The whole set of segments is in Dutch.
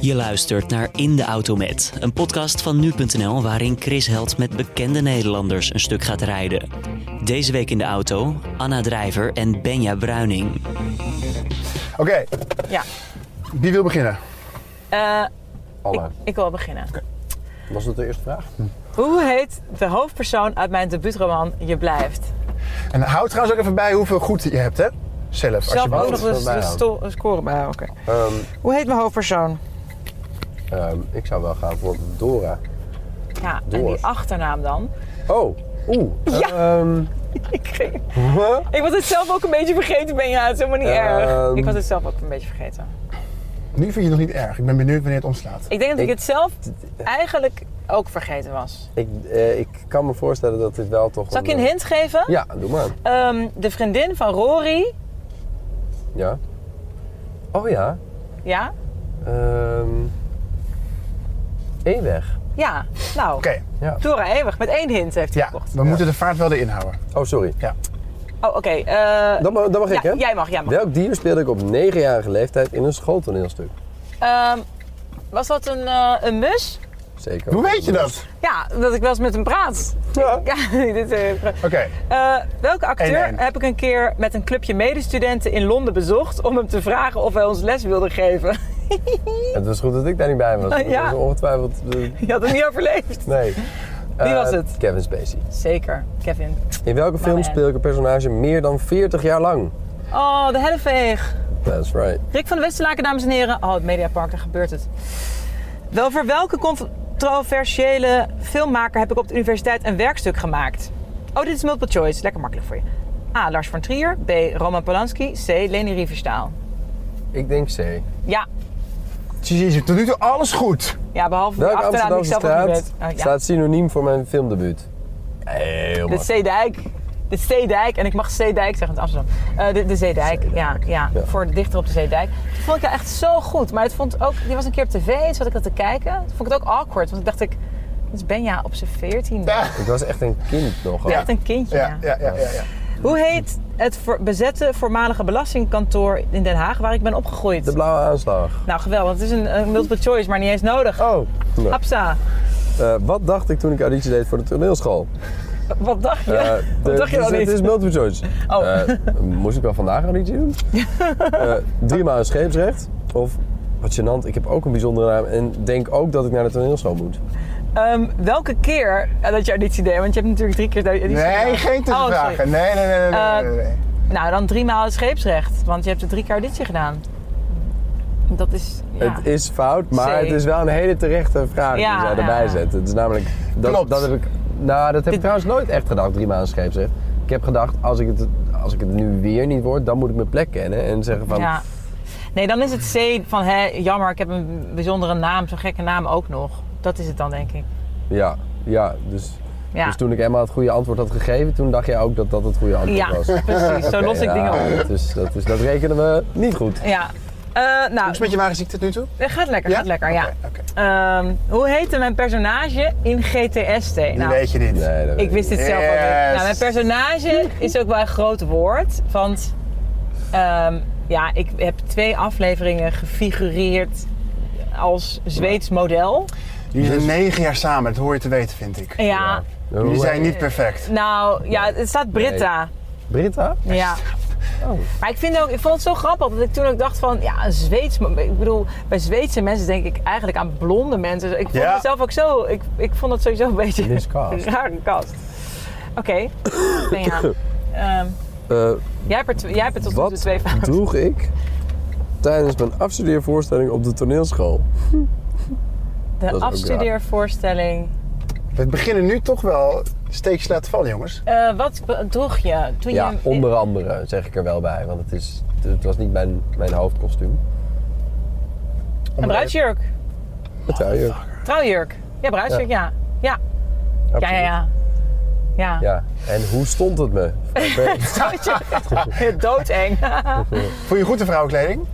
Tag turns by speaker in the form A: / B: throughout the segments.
A: Je luistert naar In de Auto Met, een podcast van nu.nl waarin Chris Held met bekende Nederlanders een stuk gaat rijden. Deze week in de auto Anna Drijver en Benja Bruining.
B: Oké,
C: Ja.
B: wie wil beginnen?
C: Eh,
D: Alle.
C: ik wil beginnen.
D: Was dat de eerste vraag?
C: Hoe heet de hoofdpersoon uit mijn debuutroman Je Blijft?
B: En houd trouwens ook even bij hoeveel goed je hebt, hè? Zelf, als je
C: Zelf ook
B: wou.
C: nog
D: dat
C: de, de
D: bijhouden.
C: sto- de score bij. oké.
D: Ehm,
C: Hoe heet mijn hoofdpersoon?
D: ehm, ik zou wel gaan voor Dora.
C: Ja, en
D: Door.
C: die achternaam dan?
D: Oh, oeh.
C: Ja.
D: Ehm,
C: Ik, ging-
D: huh?
C: ik was het zelf ook een beetje vergeten, ben je het is helemaal niet erg.
D: Ehm.
C: Ik was het zelf ook een beetje vergeten.
B: Nu vind je het nog niet erg. Ik ben benieuwd wanneer het omslaat.
C: Ik denk dat ik,
D: Ik-
C: het zelf eigenlijk ook vergeten was.
D: ik, eh, ik kan me voorstellen dat dit wel toch.
C: Zal ik je een
D: eh,
C: hint geven?
D: Ja, doe maar.
C: Ehm, de vriendin van Rory,
D: Ja. Oh ja.
C: ja?
D: Ehm Eweg.
C: Ja, nou,
B: Oké,
D: Ja.
C: Dora Eeuwig, met één hint heeft hij
B: ja,
C: gekocht.
B: we moeten de vaart wel erin houden.
D: Oh, sorry.
C: Oh, oké. eh,
D: Dan, ma- dan mag ik,
C: ja,
D: hè?
C: jij mag, jij mag.
D: Welk dier speelde ik op 9-jarige leeftijd in een schooltoneelstuk?
C: Ehm, was dat een, eh, een mus?
D: Zeker.
B: Hoe weet je dat?
C: Ja, dat ik wel eens met hem praat.
D: Ja.
C: Ja, dit, eh,
B: Oké,
C: eh, welke acteur
B: Eén, één.
C: heb ik een keer met een clubje medestudenten in Londen bezocht om hem te vragen of hij ons les wilde geven?
D: Het was goed dat ik daar niet bij was.
C: Ah, ja.
D: Dat was ongetwijfeld. eh,
C: Je had hem niet overleefd.
D: nee. Wie
C: was het?
D: Kevin Spacey.
C: Zeker, Kevin.
D: In welke film
C: man.
D: speel ik een personage meer dan 40 jaar lang?
C: Oh, de Helleveeg.
D: That's right.
C: Rick van de Westerlaken, dames en heren. Oh, het Mediapark, daar gebeurt het. Wel voor welke controversiële filmmaker heb ik op de universiteit een werkstuk gemaakt? Oh, dit is multiple choice. Lekker makkelijk voor je. A. Lars van Trier. B. Roman Polanski. C. Leni Riefenstahl.
D: Ik denk C.
C: Ja,
B: jezus, tot nu toe alles goed.
C: ja behalve de
D: Welke
C: achternaam die ik
D: Amsterdamse
C: zelf ook
D: straat
C: niet weet. Oh, ja.
D: staat synoniem voor mijn filmdebuut? Heel
C: De
D: mooi.
C: Zeedijk. De Zeedijk. En ik mag Zeedijk zeggen in Amsterdam. Eh, de, de Zeedijk, ja, ja,
D: ja.
C: Voor de dichter op de Zeedijk. Dat vond ik ja echt zo goed. Maar het vond ook... Die was een keer op tv en zat ik dat te kijken. Toen vond ik het ook awkward. Want ik dacht ik... Dat is Benja op zijn veertiende.
B: Ja,
D: Ik was echt een kind nogal.
C: Echt een kindje.
B: ja,
C: ja.
B: ja, ja. ja, ja.
C: Hoe heet het voor- bezette voormalige belastingkantoor in Den Haag... waar ik ben opgegroeid?
D: De blauwe aanslag.
C: Nou, geweldig. Het is een, een multiple choice, maar niet eens nodig.
D: Oh. Nee.
C: Hapsa,
D: Eh, wat dacht ik toen ik auditie deed voor de toneelschool?
C: wat dacht je?
D: Eh, de-
C: wat dacht je
D: dus
C: dan
D: Het
C: niet?
D: is multiple choice.
C: Oh.
D: Eh, moest ik wel vandaag auditie doen? Eh driemaal een scheepsrecht. Of, wat gênant, ik heb ook een bijzondere naam. En denk ook dat ik naar de toneelschool moet.
C: Ehm, welke keer eh, dat je auditie deed? Want je hebt natuurlijk drie keer de auditie
B: Nee,
C: gedaan.
B: geen
C: Oh, sorry.
B: tussenvragen. nee, nee, nee, nee, nee, nee, nee.
C: Nou, dan drie maal het scheepsrecht. Want je hebt er drie keer auditie gedaan. Dat is... Ja.
D: Het is fout, maar
C: Zee.
D: het is wel een hele terechte vraag
C: Ja,
D: die zij erbij
C: ja.
D: zet. Het is namelijk... Dat,
B: Klopt.
D: Dat heb ik, nou, dat heb
C: Dit-
D: ik trouwens nooit echt gedacht, drie maanden scheepsrecht. Ik heb gedacht, als ik, het, als ik het nu weer niet word, dan moet ik mijn plek kennen. En zeggen van,
C: ja. Nee, dan is het C van... Hè, jammer, ik heb een bijzondere naam. Zo'n gekke naam ook nog. Dat is het dan, denk ik.
D: ja, ja. Dus,
C: Ja,
D: dus toen ik Emma het goede antwoord had gegeven, toen dacht jij ook dat dat het goede antwoord
C: ja
D: was.
C: precies. Zo los ik
D: Ja,
C: dingen op.
D: Dat, is, dat, is, dat rekenen we niet goed.
C: Ja. Eh,
B: Hoe
C: nou,
B: is het met je wagenziekte tot nu toe?
C: het gaat lekker,
B: Ja?
C: gaat lekker, ja.
B: Oké, oké.
C: Ehm, hoe heette mijn personage in GTST?
B: Nu
C: Nou,
B: weet je dit.
D: Nee, dat
C: ik wist dit zelf al.
B: Yes.
C: Nou, mijn personage is ook wel een groot woord, want ehm, ja, ik heb twee afleveringen gefigureerd als Zweeds model.
B: Jullie zijn negen jaar samen, dat hoor je te weten, vind ik.
C: Ja,
B: Jullie zijn niet perfect.
C: nou, ja, het staat Britta.
D: Britta?
C: Ja. Maar ik, vind ook, ik vond het zo grappig dat ik toen ook dacht van, ja, een Zweeds... Ik bedoel, bij Zweedse mensen denk ik eigenlijk aan blonde mensen. Ik vond
B: Ja.
C: het zelf ook zo... Ik, ik vond het sowieso een beetje
D: Miscast.
C: een rare kast. Oké, Benja. Ehm,
D: Eh,
C: jij, hebt er tw- jij hebt er tot nu toe
D: wat
C: twee fouten.
D: droeg ik tijdens mijn afstudeervoorstelling op de toneelschool?
C: De
D: ook raar.
C: afstudeervoorstelling.
B: We beginnen nu toch wel steekjes laten vallen, jongens.
C: Eh, wat droeg je toen
D: Ja,
C: je...
D: onder andere zeg ik er wel bij, want het, is, het was niet mijn, mijn hoofdkostuum.
C: Een bruidsjurk.
D: Het zou je.
C: Trouwjurk. Ja, bruidsjurk, ja. Ja, ja, ja. ja. Ja,
D: Ja, en hoe stond het me?
C: Trouwjurk. doodeng.
B: Vond je goed de vrouwenkleding?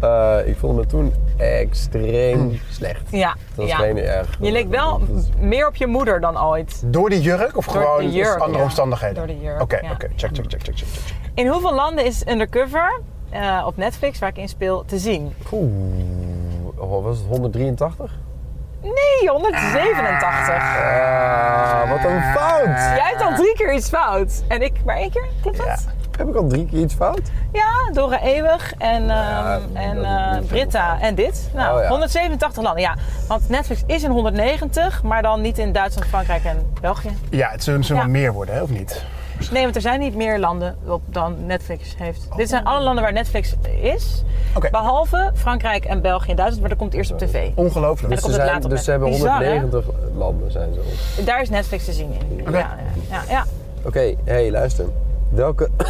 D: Eh, ik vond me toen extreem slecht.
C: Mm. ja,
D: Het was
C: ja.
D: geen erg.
C: Je leek wel
D: Dat is-
C: meer op je moeder dan ooit.
B: Door die jurk of
C: de
B: gewoon
C: jurk,
B: andere
C: ja.
B: omstandigheden?
C: Door de jurk,
B: Oké,
C: ja.
B: oké. Check, check, check, check, check, check.
C: In hoeveel landen is Undercover eh, op Netflix, waar ik in speel, te zien?
D: Oeh, oh, was het 183?
C: Nee, 187.
D: Ah, wat een fout!
C: Jij hebt al drie keer iets fout. En ik maar één keer, klopt dat?
B: Ja.
D: Heb ik al drie keer iets fout?
C: Ja, Dora Eeuwig en, ehm,
D: dat
C: en
D: is
C: eh,
D: niet
C: Britta en dit. Nou,
D: Oh, ja.
C: 187 landen, ja. Want Netflix is in 190, maar dan niet in Duitsland, Frankrijk en België.
B: Ja, het zullen, zullen
C: Ja.
B: wel meer worden, hè, of niet?
C: Nee, want er zijn niet meer landen op dan Netflix heeft.
D: Oh.
C: Dit zijn alle landen waar Netflix is.
B: Oké.
C: Behalve Frankrijk en België en Duitsland, maar dat komt eerst op tv.
B: Ongelooflijk.
C: Ja, dat komt
D: Ze,
C: het
D: zijn,
C: later
D: dus
C: bij.
D: ze hebben
C: Bizar, hè?
D: 190 landen zijn ze op.
C: Daar is Netflix te zien in.
B: Oké.
C: Ja, ja, ja, ja.
D: Oké, hey, luister. Welke...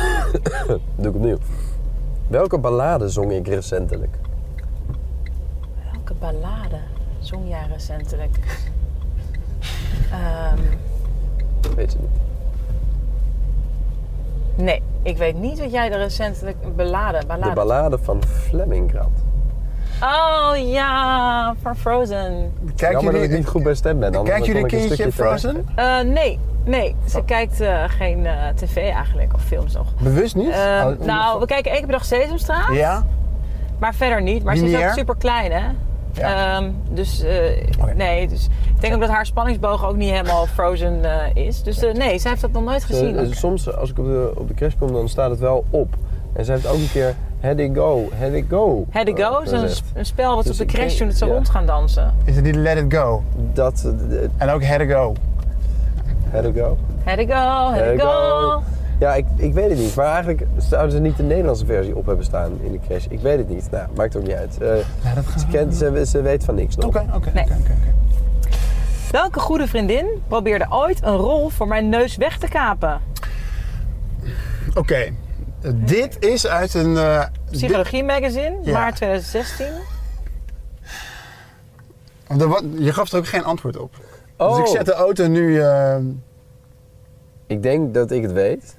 D: Doe ik opnieuw. Welke ballade zong ik recentelijk?
C: Welke ballade zong jij recentelijk? Ehm,
D: Weet je niet.
C: nee, ik weet niet wat jij er recentelijk... een Ballade,
D: De
C: ballade.
D: ballade van Flemingkrant.
C: oh ja, van Frozen.
B: Kijken
D: Jammer dat ik
B: jullie,
D: niet goed bij stem ben. anders
B: kijken jullie een
D: kon ik
B: keertje
D: stukje te-
B: Frozen?
C: Eh, nee, nee. Ze kijkt eh, geen eh, tv eigenlijk, of films nog.
B: Bewust niet?
C: Eh,
B: Oh,
C: nou, we kijken één keer per dag Sesamstraat.
B: Ja?
C: Maar verder niet. Maar ze is
B: Lineair?
C: ook super klein, hè?
B: Ja.
C: Ehm, dus eh,
B: Oké.
C: nee, dus ik denk ook dat haar spanningsboog ook niet helemaal frozen eh, is. Dus eh, nee, zij heeft dat nog nooit gezien.
D: Eh, eh, Soms als ik op de, op de crash kom, dan staat het wel op. En ze heeft ook een keer Had It Go, Had It Go.
C: Had to
D: eh,
C: Go is een,
D: gezegd.
C: sp- een spel wat ze
D: Dus
C: op de
D: ik
C: crash
D: denk-
C: toen het zo
D: ja.
C: rond gaan dansen.
B: Is het niet Let It Go?
D: Dat, eh, eh,
B: En ook Had It Go.
D: Had It Go.
C: Had to go, had
D: Had
C: to
D: It
C: go.
D: Ja, ik, ik weet het niet. Maar eigenlijk zouden ze niet de Nederlandse versie op hebben staan in de crash. Ik weet het niet. Nou, maakt ook niet uit. Eh,
B: dat gaan
D: ze, kent, ze, ze weet van niks nog.
B: Oké, oké, oké.
C: Nee.
B: oké, oké.
C: Welke goede vriendin probeerde ooit een rol voor mijn neus weg te kapen?
B: Oké. Dit is uit een... eh,
C: Psychologie magazine,
B: Ja.
C: maart 2016.
B: dit- er wa- je gaf er ook geen antwoord op.
D: Oh.
B: Dus ik zet de auto nu... eh,
D: Ik denk dat ik het weet.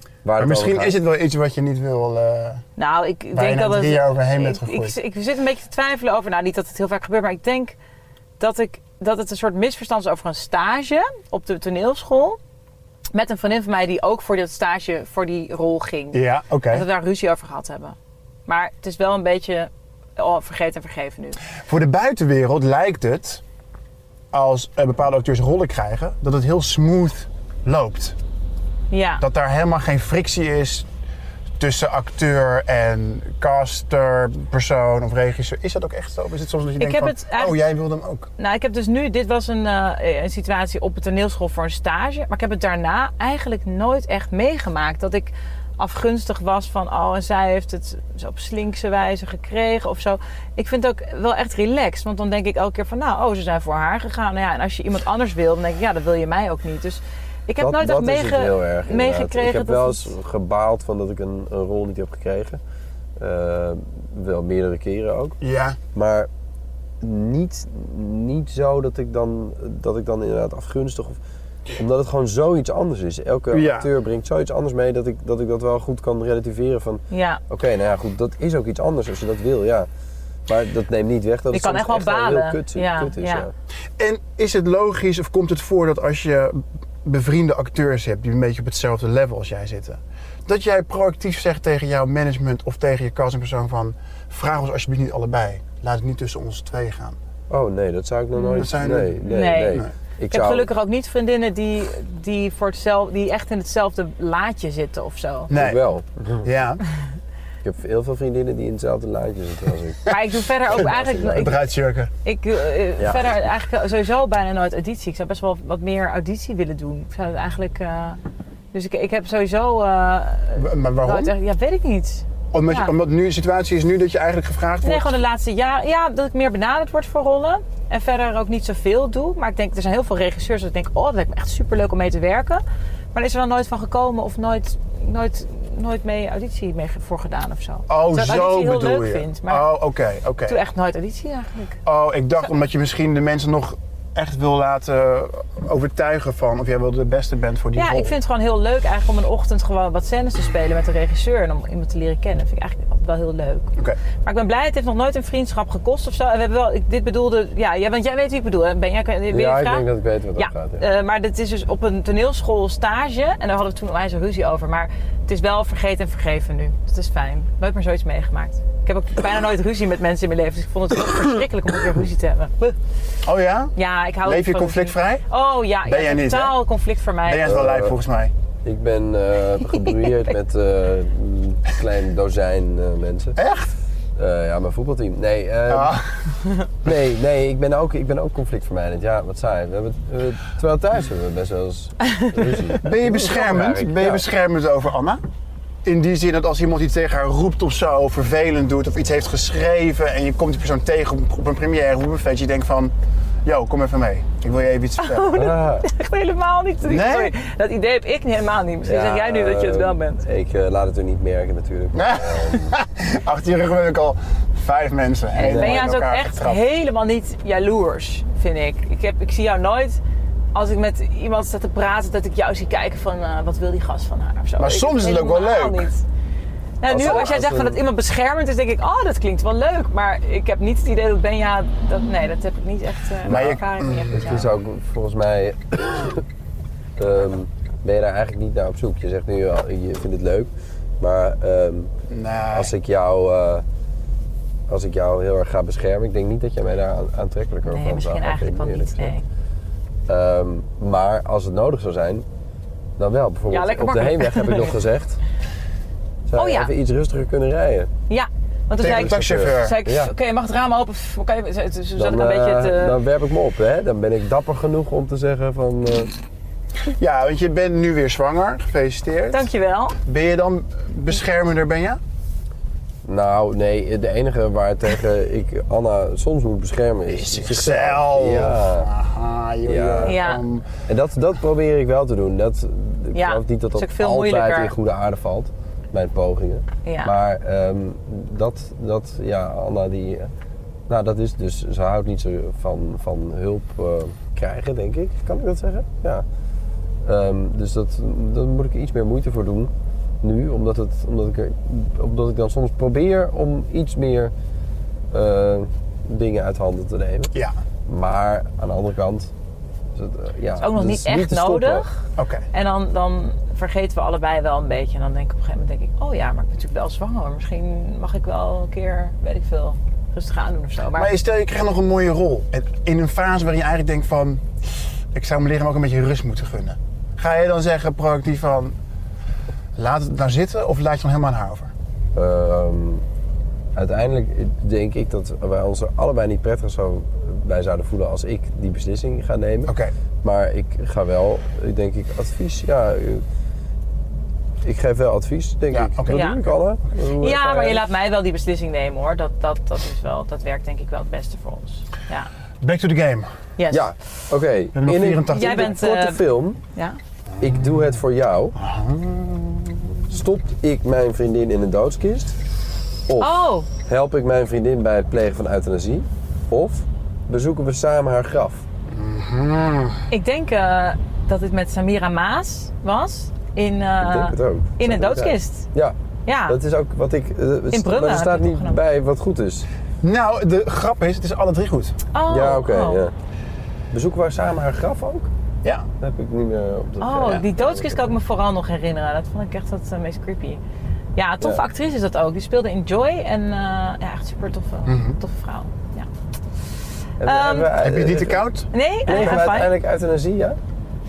D: Waar
B: maar
D: het
B: misschien
D: over gaat.
B: is het wel iets wat je niet wil... eh,
C: Nou, ik
B: je
C: denk
B: na
C: dat
B: drie
C: het-
B: jaar overheen
C: ik-
B: bent gegroeid.
C: Ik, ik zit een beetje te twijfelen over, nou niet dat het heel vaak gebeurt, maar ik denk dat, ik, dat het een soort misverstand is over een stage op de toneelschool. Met een vriendin van mij die ook voor dat stage, voor die rol ging.
B: Ja, oké.
C: Dat we daar ruzie over gehad hebben. Maar het is wel een beetje oh, vergeten en vergeven nu.
B: Voor de buitenwereld lijkt het, als eh, bepaalde acteurs rollen krijgen, dat het heel smooth loopt.
C: Ja,
B: Dat daar helemaal geen frictie is tussen acteur en caster, persoon of regisseur. Is dat ook echt zo? Of is het soms dat je denkt
C: heb
B: van,
C: het eigenlijk-
B: oh jij wilde hem ook?
C: nou ik heb dus nu, dit was een, eh, een situatie op de toneelschool voor een stage. Maar ik heb het daarna eigenlijk nooit echt meegemaakt. Dat ik afgunstig was van, oh en zij heeft het zo op slinkse wijze gekregen of zo. Ik vind het ook wel echt relaxed. Want dan denk ik elke keer van, nou oh ze zijn voor haar gegaan. Nou ja, en als je iemand anders wil, dan denk ik, ja dat wil je mij ook niet. Dus ik heb
D: dat,
C: nooit
D: dat
C: echt
D: is het
C: meege-
D: heel erg, inderdaad.
C: meegekregen.
D: Ik heb
C: dat
D: wel
C: het-
D: eens gebaald van dat ik een, een rol niet heb gekregen. Eh, wel meerdere keren ook.
B: Ja.
D: Maar niet, niet zo dat ik, dan, dat ik dan inderdaad afgunstig of omdat het gewoon zoiets anders is. Elke
B: Ja.
D: acteur brengt zoiets anders mee dat ik dat, ik dat wel goed kan relativeren van...
C: Ja.
D: Oké, nou ja, goed, dat is ook iets anders als je dat wil, ja. Maar dat neemt niet weg dat
C: Je
D: het
C: kan
D: soms
C: echt wel
D: heel
C: balen.
D: kut,
C: Ja,
D: kut is,
C: ja.
D: ja.
B: En is het logisch of komt het voor dat als je bevriende acteurs hebt die een beetje op hetzelfde level als jij zitten, dat jij proactief zegt tegen jouw management of tegen je castingpersoon van vraag ons alsjeblieft niet allebei. Laat het niet tussen ons twee gaan.
D: Oh nee, dat zou ik nog nooit...
B: Mm, Dat zou je
D: nee, nee,
B: niet-
D: nee,
C: Nee.
B: Nee.
D: Ik,
C: Ik heb
D: zou...
C: gelukkig ook niet vriendinnen die, die, voor hetzelfde, die echt in hetzelfde laadje zitten of zo.
D: Ik wel.
C: Hm.
B: Ja.
D: Ik heb heel veel vriendinnen die in hetzelfde laadje zitten als ik.
C: Maar ik doe verder ook eigenlijk. Ik,
B: Eruit jurken.
C: ik, eh,
D: Ja.
C: verder eigenlijk sowieso bijna nooit auditie. Ik zou best wel wat meer auditie willen doen. Ik zou het eigenlijk. eh, dus ik, ik heb sowieso. eh
B: Maar waarom?
C: nooit echt- ja, weet ik niet.
B: Omdat,
C: Ja.
B: omdat nu de situatie is nu dat je eigenlijk gevraagd
C: Nee,
B: wordt.
C: gewoon de laatste jaren. Ja, dat ik meer benaderd word voor rollen. En verder ook niet zoveel doe. Maar ik denk, er zijn heel veel regisseurs dat ik denk, oh, dat lijkt me echt superleuk om mee te werken. Maar er is er dan nooit van gekomen of nooit, nooit, nooit mee auditie mee ge- voor gedaan of zo.
B: Oh,
C: Terwijl ik
B: zo
C: auditie heel
B: bedoel
C: leuk
B: je.
C: vind. Maar
B: Oh, oké, oké.
C: ik doe echt nooit auditie eigenlijk.
B: Oh, ik dacht omdat je misschien de mensen nog echt wil laten overtuigen van of jij wel de beste bent voor die
C: Ja,
B: rol.
C: ik vind het gewoon heel leuk eigenlijk om een ochtend gewoon wat scènes te spelen met de regisseur. En om iemand te leren kennen. Dat vind ik eigenlijk altijd wel heel leuk.
B: Oké.
C: Maar ik ben blij, het heeft nog nooit een vriendschap gekost of zo. En we hebben wel, ik, dit bedoelde, ja, jij, want jij weet wie ik bedoel. hè? Ben jij, ben je
D: ja, ik
C: vraag?
D: denk dat ik weet wat dat
C: Ja,
D: gaat. ja.
C: eh, maar dit is dus op een toneelschool stage. En daar hadden we toen al eens een ruzie over. Maar het is wel vergeten en vergeven nu. Dus Dat is fijn. Nooit meer zoiets meegemaakt. Ik heb ook bijna nooit ruzie met mensen in mijn leven. Dus ik vond het heel verschrikkelijk om weer ruzie te hebben.
B: Oh ja?
C: Ja, ik hou
B: Leef
C: niet
B: je
C: van ruzie.
B: conflictvrij?
C: Oh ja,
B: Ben
C: ja,
B: jij niet, hè?
C: totaal conflict voor mij.
B: Ben jij is wel
D: Eh,
B: lijp volgens mij.
D: Ik ben eh gebrouilleerd met eh, een klein dozijn eh, mensen.
B: Echt?
D: Eh, ja, mijn voetbalteam. Nee, eh,
B: Ah,
D: nee, nee ik, ben ook, ik ben ook conflictvermijdend. Ja, wat saai. We hebben, eh, terwijl thuis hebben we best wel eens ruzie.
B: ben je beschermend?
D: eigenlijk,
B: Ben je
D: ja.
B: beschermend over Anna? In die zin dat als iemand iets tegen haar roept of zo, of vervelend doet, of iets heeft geschreven en je komt die persoon tegen op, op een première of op een feestje, je denkt van, yo, kom even mee. Ik wil je even
C: Oh,
B: iets vertellen.
D: Ah.
C: Echt helemaal niet.
B: Nee?
C: Sorry, dat idee heb ik niet, helemaal niet. Misschien
D: Ja,
C: zeg jij nu dat je het wel bent.
D: eh, Ik eh, laat het u niet merken natuurlijk.
B: Achter je rug heb ik al vijf mensen.
C: Ik
B: helemaal
C: ben
B: in
C: juist ook
B: elkaar
C: echt
B: getrapt.
C: helemaal niet jaloers, vind ik. Ik, heb, ik zie jou nooit, als ik met iemand sta te praten, dat ik jou zie kijken van eh, wat wil die gast van haar of zo.
B: Maar
C: Ik-
B: soms is het ook wel
C: helemaal
B: leuk.
C: Niet. Nou,
D: Als-
C: nu, als jij
D: als
C: zegt van
D: een-
C: dat iemand beschermend is, denk ik, oh, dat klinkt wel leuk. Maar ik heb niet het idee dat Benja, dat, nee, dat heb ik niet echt, eh
B: Maar je-
C: ervaring niet echt met
D: Misschien
C: jou.
D: zou ik volgens mij. ehm, ben je daar eigenlijk niet naar op zoek? Je zegt nu al, je vindt het leuk. Maar ehm,
B: Nee.
D: als ik jou. eh, als ik jou heel erg ga beschermen, ik denk niet dat jij mij daar aan- aantrekkelijk over
C: Nee, misschien eigenlijk wel niet, nee.
D: Ehm, maar als het nodig zou zijn, dan wel.
C: Ja,
D: Bijvoorbeeld
C: lekker
D: op de
C: makkelijk.
D: heenweg heb ik nog gezegd. Zou
C: Oh
D: je
C: ja.
D: even iets rustiger kunnen rijden?
C: Ja, want
B: Tegen
C: toen zei
B: de
C: ik,
B: taxichauffeur.
C: zei ik,
D: Ja.
C: oké, je mag het raam open. Pff, Oké, zo- zo zat Dus ik een
D: eh,
C: beetje te...
D: dan werp ik me op. Hè? Dan ben ik dapper genoeg om te zeggen van... eh,
B: Ja, want je bent nu weer zwanger. Gefeliciteerd.
C: Dankjewel.
B: Ben je dan beschermender, ben je?
D: Nou, nee, de enige waar tegen ik Anna soms moet beschermen is, zichzelf. Ja.
B: Aha, joh,
D: Ja.
B: joh.
C: Ja.
B: Um,
D: En dat, dat probeer ik wel te doen. Dat, ik
C: Ja,
D: geloof niet dat
C: is
D: dat
C: ook veel
D: altijd
C: moeilijker.
D: in goede aarde valt. Mijn pogingen.
C: Ja.
D: Maar ehm, dat, dat, ja, Anna die... eh, Nou, dat is dus... Ze houdt niet zo van, van hulp eh, krijgen, denk ik. Kan ik dat zeggen? Ja. Ehm, dus dat, daar moet ik iets meer moeite voor doen. Nu, omdat, het, omdat, ik, er- omdat ik dan soms probeer om iets meer eh, dingen uit handen te nemen.
B: ja,
D: Maar aan de andere kant. Is het, eh, ja,
C: Ook nog
D: dat
C: niet
D: is
C: echt
D: te stoppen.
C: nodig.
B: oké.
C: En dan, dan vergeten we allebei wel een beetje. En dan denk ik op een gegeven moment denk ik, oh ja, maar ik ben natuurlijk wel zwanger. Misschien mag ik wel een keer, weet ik veel, rustig aan doen of zo. Maar,
B: Maar stel, je krijgt nog een mooie rol. En In een fase waarin je eigenlijk denkt van... Ik zou mijn lichaam ook een beetje rust moeten gunnen. Ga je dan zeggen proactief van... Laat het nou zitten of laat je het dan helemaal aan haar over?
D: Ehm, uiteindelijk denk ik dat wij ons er allebei niet prettig zo bij zouden voelen als ik die beslissing ga nemen.
B: Oké.
D: Maar ik ga wel, ik denk ik, advies. Ja, eh, ik geef wel advies, denk
B: Ja,
D: ik.
B: oké.
D: Dat
C: Ja.
D: doe ik alle.
C: ja,
D: eh,
C: maar je laat mij wel die beslissing nemen hoor. Dat, dat, dat, is wel, dat werkt denk ik wel het beste voor ons. Ja.
B: Back to the game.
C: Yes.
D: Ja, oké.
B: hebben nog
D: In een-
B: 84.
D: in
C: Jij
D: een
C: bent,
D: korte
C: eh,
D: film.
C: Ja?
D: Ik doe het voor jou.
B: Ah.
D: Stopt ik mijn vriendin in een doodskist? Of
C: Oh,
D: help ik mijn vriendin bij het plegen van euthanasie? Of bezoeken we samen haar graf?
C: ik denk eh, dat het met Samira Maas was. In, eh,
D: Ik denk het ook.
C: in een
D: Zo
C: doodskist.
D: Ja,
C: Ja.
D: dat is ook wat ik... eh, st-
C: Brummen
D: maar er
C: heb
D: staat
C: ik het
D: niet
C: genomen.
D: bij wat goed is.
B: Nou, de grap is, het is alle drie goed.
C: Oh,
D: ja, oké.
C: oh.
D: ja. Bezoeken we samen haar graf ook?
B: Ja.
D: Dat heb ik niet meer op de...
C: Oh,
D: ja.
C: die doodskist kan ik me vooral nog herinneren. Dat vond ik echt het eh, meest creepy. Ja, toffe
D: Ja.
C: actrice is dat ook. Die speelde in Joy en eh, ja, echt super toffe,
D: Mhm.
C: toffe vrouw. Ja.
D: En dan
C: Ehm,
D: hebben we-
B: Heb je die te
D: eh,
B: koud?
C: Nee,
D: plegen
C: nee,
D: we
C: I'm fine.
D: uiteindelijk euthanasie, ja?